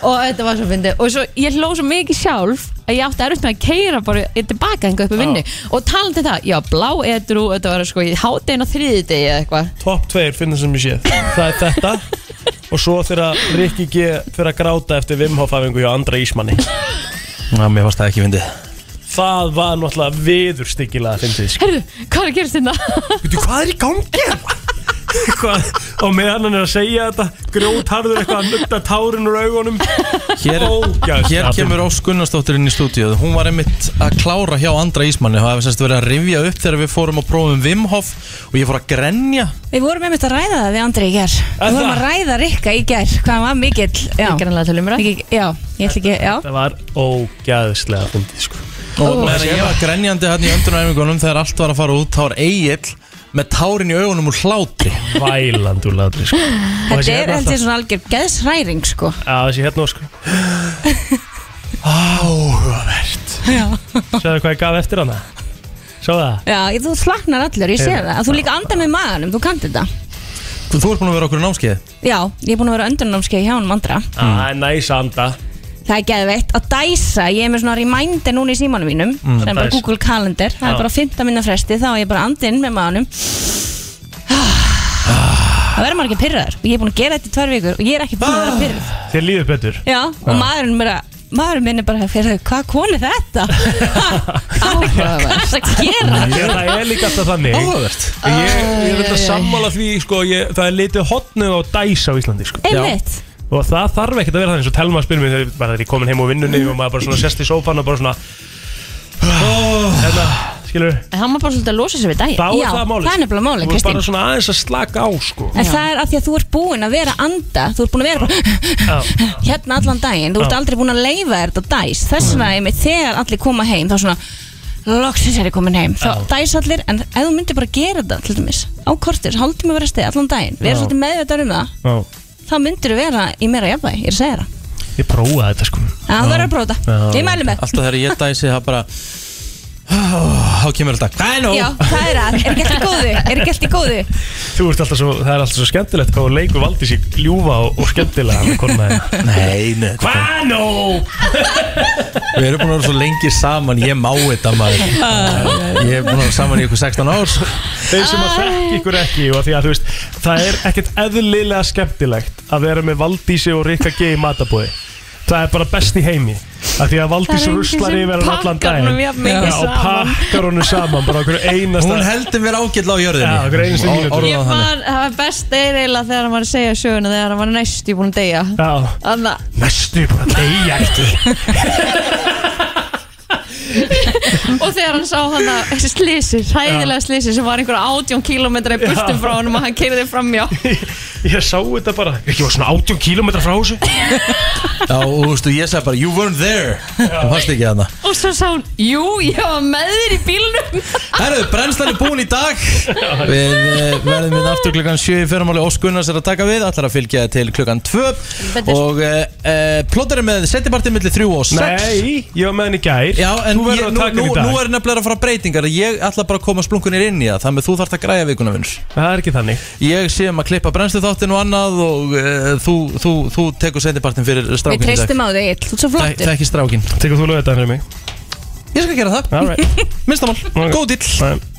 S3: og þetta var svo fyndi og svo ég hló svo mikið sjálf að ég átti erfitt með að keira bara í- tilbaka enga upp í vinnu og talandi það, já blá edru þetta var sko í hátdein og þriði degi eða eitthvað
S4: Topp tveir finnir sem ég séð Það er þetta Og svo þegar Rikki G fyrir að gráta eftir Vimhofæfingu hjá Andra Ísmanni
S2: Já, mér varst það ekki fyndið
S4: Það var náttúrulega viður styggilega fyndið sko.
S3: Herðu, hvað er að gerast hérna? þetta?
S4: Veitu, hvað er í gangi? [LAUGHS] Hvað? Og meðan hann er að segja þetta Grjótharður eitthvað að nutta tárin úr augunum
S2: Hér,
S4: Ógeðslega
S2: hér
S4: fyndið.
S2: kemur Ós Gunnarsdóttir inn í stúdíu Hún var einmitt að klára hjá Andra Ísmanni og hefði semst verið að rifja upp þegar við fórum og prófum Wim Hof og ég fór að grenja
S11: Við vorum einmitt að ræða það við Andri í gær Við
S2: það?
S11: vorum að ræða Rikka í gær Hvað hann var mikill já. Ég
S3: grannlega tölum ræð
S11: Já, ég ætla ekki, já
S4: Það var ógæðislega fyndið sko
S2: og meðan ég var grenjandi hann í öndunaræfingunum þegar allt var að fara út þá var Egil með tárin í augunum úr hlátri
S4: Væland úr hlátri sko.
S11: Þetta er held ég svona algjör geðsræring sko
S4: Já, þessi hérna sko Áhugavert
S11: Já.
S4: Sjáðu hvað ég gaf eftir hana Sjáðu það
S11: Já, ég- þú slaknar allur, ég sé
S2: Heyrðu.
S11: það Þú líka andar með maðanum, þú kannt þetta
S2: Þú, þú ert búin að vera okkur í námskeið
S11: Já, ég er búin að vera öndunnámskeið hjá hann mandra
S4: Það er næs að anda
S11: Það er geðveitt að dæsa, ég er með svona reminder núna í símanum mínum
S4: Mm.
S11: sem er bara
S4: Dæs.
S11: Google Calendar, það
S4: Já.
S11: er bara 15 minna fresti þá er ég bara andinn með maðanum Það verður maður ekki pyrraður og ég er búin að gera þetta í tvær vikur og ég er ekki búin að
S4: Ah.
S11: vera pyrrað
S4: Þér líður betur
S11: Já, og
S2: [LAUGHS]
S11: maðurinn bara maðurinn minn er bara, fyrir, hvað koni þetta? [LAUGHS] Hvað er það að gera?
S4: Þegar það er líka alltaf þannig
S2: Áhugavert
S4: Ég, ég er
S11: Æ,
S4: þetta
S11: æ, æ.
S4: sammála því sko, ég, Það er litið hotnu og dæs á Íslandi sko.
S11: Einmitt.
S4: Og það þarf ekkert að vera þannig Svo telma að spyrja mig þegar bara þegar ég er komin heim úr vinnunni Og maður bara svona sest í sófan og bara svona Hérna, skilur
S3: En [LAUGHS] hann var bara svolítið að losa sér við daginn
S4: Þá er Já, það málið. það er
S11: nefnilega málið,
S4: Þú er
S11: Kristín.
S4: bara svona aðeins að slaka á sko
S11: En það er af því að þú ert búin að vera að anda Þú ert búin að vera [LAUGHS] bara Hérna allan daginn, þú ert
S4: Já.
S11: aldrei búin að leifa þér þetta dæs Þess vegna einmitt þegar allir koma heim Þá svona, loksins er ég komin heim Þá dæs allir, en ef þú myndir bara gera þetta Til dæmis, á kortir, haldum að vera stið Allan daginn, vera
S4: Já.
S11: svolítið meðvitað um það
S4: Já,
S11: Þá myndir þú vera í meira jafnvæg, ég er að segja það
S4: ég prófaði þetta sko
S11: En það verður að prófa þetta, ég mælu með
S2: Alltaf þegar ég dæsi það bara Þá kemur alltaf Það er nóg
S11: Já, hvað er að, er ekki allt í góðu, er ekki allt í góðu
S4: Þú ert alltaf svo, það er alltaf svo skemmtilegt hvað hún leikur valdi sér ljúfa og, og skemmtilega hann konaði.
S2: Nei, nei
S4: Hvað nú?
S2: Við erum búin að vera svo lengi saman Ég má þetta maður Ég er búin að vera saman í ykkur 16 ár
S4: Þeir sem að þekki ykkur ekki og því að þú veist, það er ekkert eðlilega skemmtilegt að vera með Valdísi og Rikka G í matabóði. Það er bara best í heimi. Af því að
S1: Það
S4: Valdís
S1: er enginn
S4: ruslar
S1: sem
S4: yfir hann allan
S1: pakkar honum
S4: daginn.
S1: jafn mikið
S4: Já, og
S1: saman.
S4: pakkar honum saman, bara okkur einasta.
S2: Hún heldur mér ágætla á jörðinni
S4: Já, okkur einasta
S2: Or-
S4: mínútu.
S2: orðaðu
S3: Ég
S2: það þannig.
S3: man, það var best eiginlega þegar hann var að segja söguna þegar hann var næst í búin að deyja
S4: Já
S3: Anna,
S4: Næstu bara að deyja ekki.
S3: og þegar hann sá hann að slísi, hræðilega slísi sem var einhverja átjón kílómetra í
S4: Já.
S3: burtum frá hann og hann keiriði fram
S4: [LAUGHS]
S3: já
S4: Ég sá þetta bara. Ekki var svona 80 km frá [LAUGHS] þessu.
S2: Já, og þú veistu, ég sagði bara You weren't there Þú fannst ekki þarna
S3: og svo sá hann, jú, ég var með þér í bílnum
S2: Herru, brennslan er búin í dag Við eh, verðum við aftur klukkan 7 í fyrramáli Ós Gunnars er að taka við Allar að fylgja til klukkan 2
S4: Betur.
S2: Og uh, uh, plóter er með setjabartið millir 3 og 6
S4: Nei, ég var með henni í gær
S2: Já, en
S4: Þú verður
S2: ég,
S4: að
S2: nú,
S4: taka
S2: nú,
S4: henni í dag
S2: nú er nefnilega að fara breytingar Ég ætla bara að koma splunkunir inn í það Þannig að þú þarft að græja vikuna vinnur
S4: Það er ekki þannig
S2: Ég sé um að klippa brennslu þáttin og annað Og uh, þú, þú, þú tekur setjabartin fyrir
S11: Við
S2: strákinn í dag
S11: treystum á þig, Egill, þú ert svo
S2: Það
S11: flottur
S2: er ekki strákin
S4: Tekur þú lögðu þetta fyrir mig?
S2: [LAUGHS] Ég skal gera það
S4: All right.
S2: Minnstamál,
S4: okay.
S2: góð dill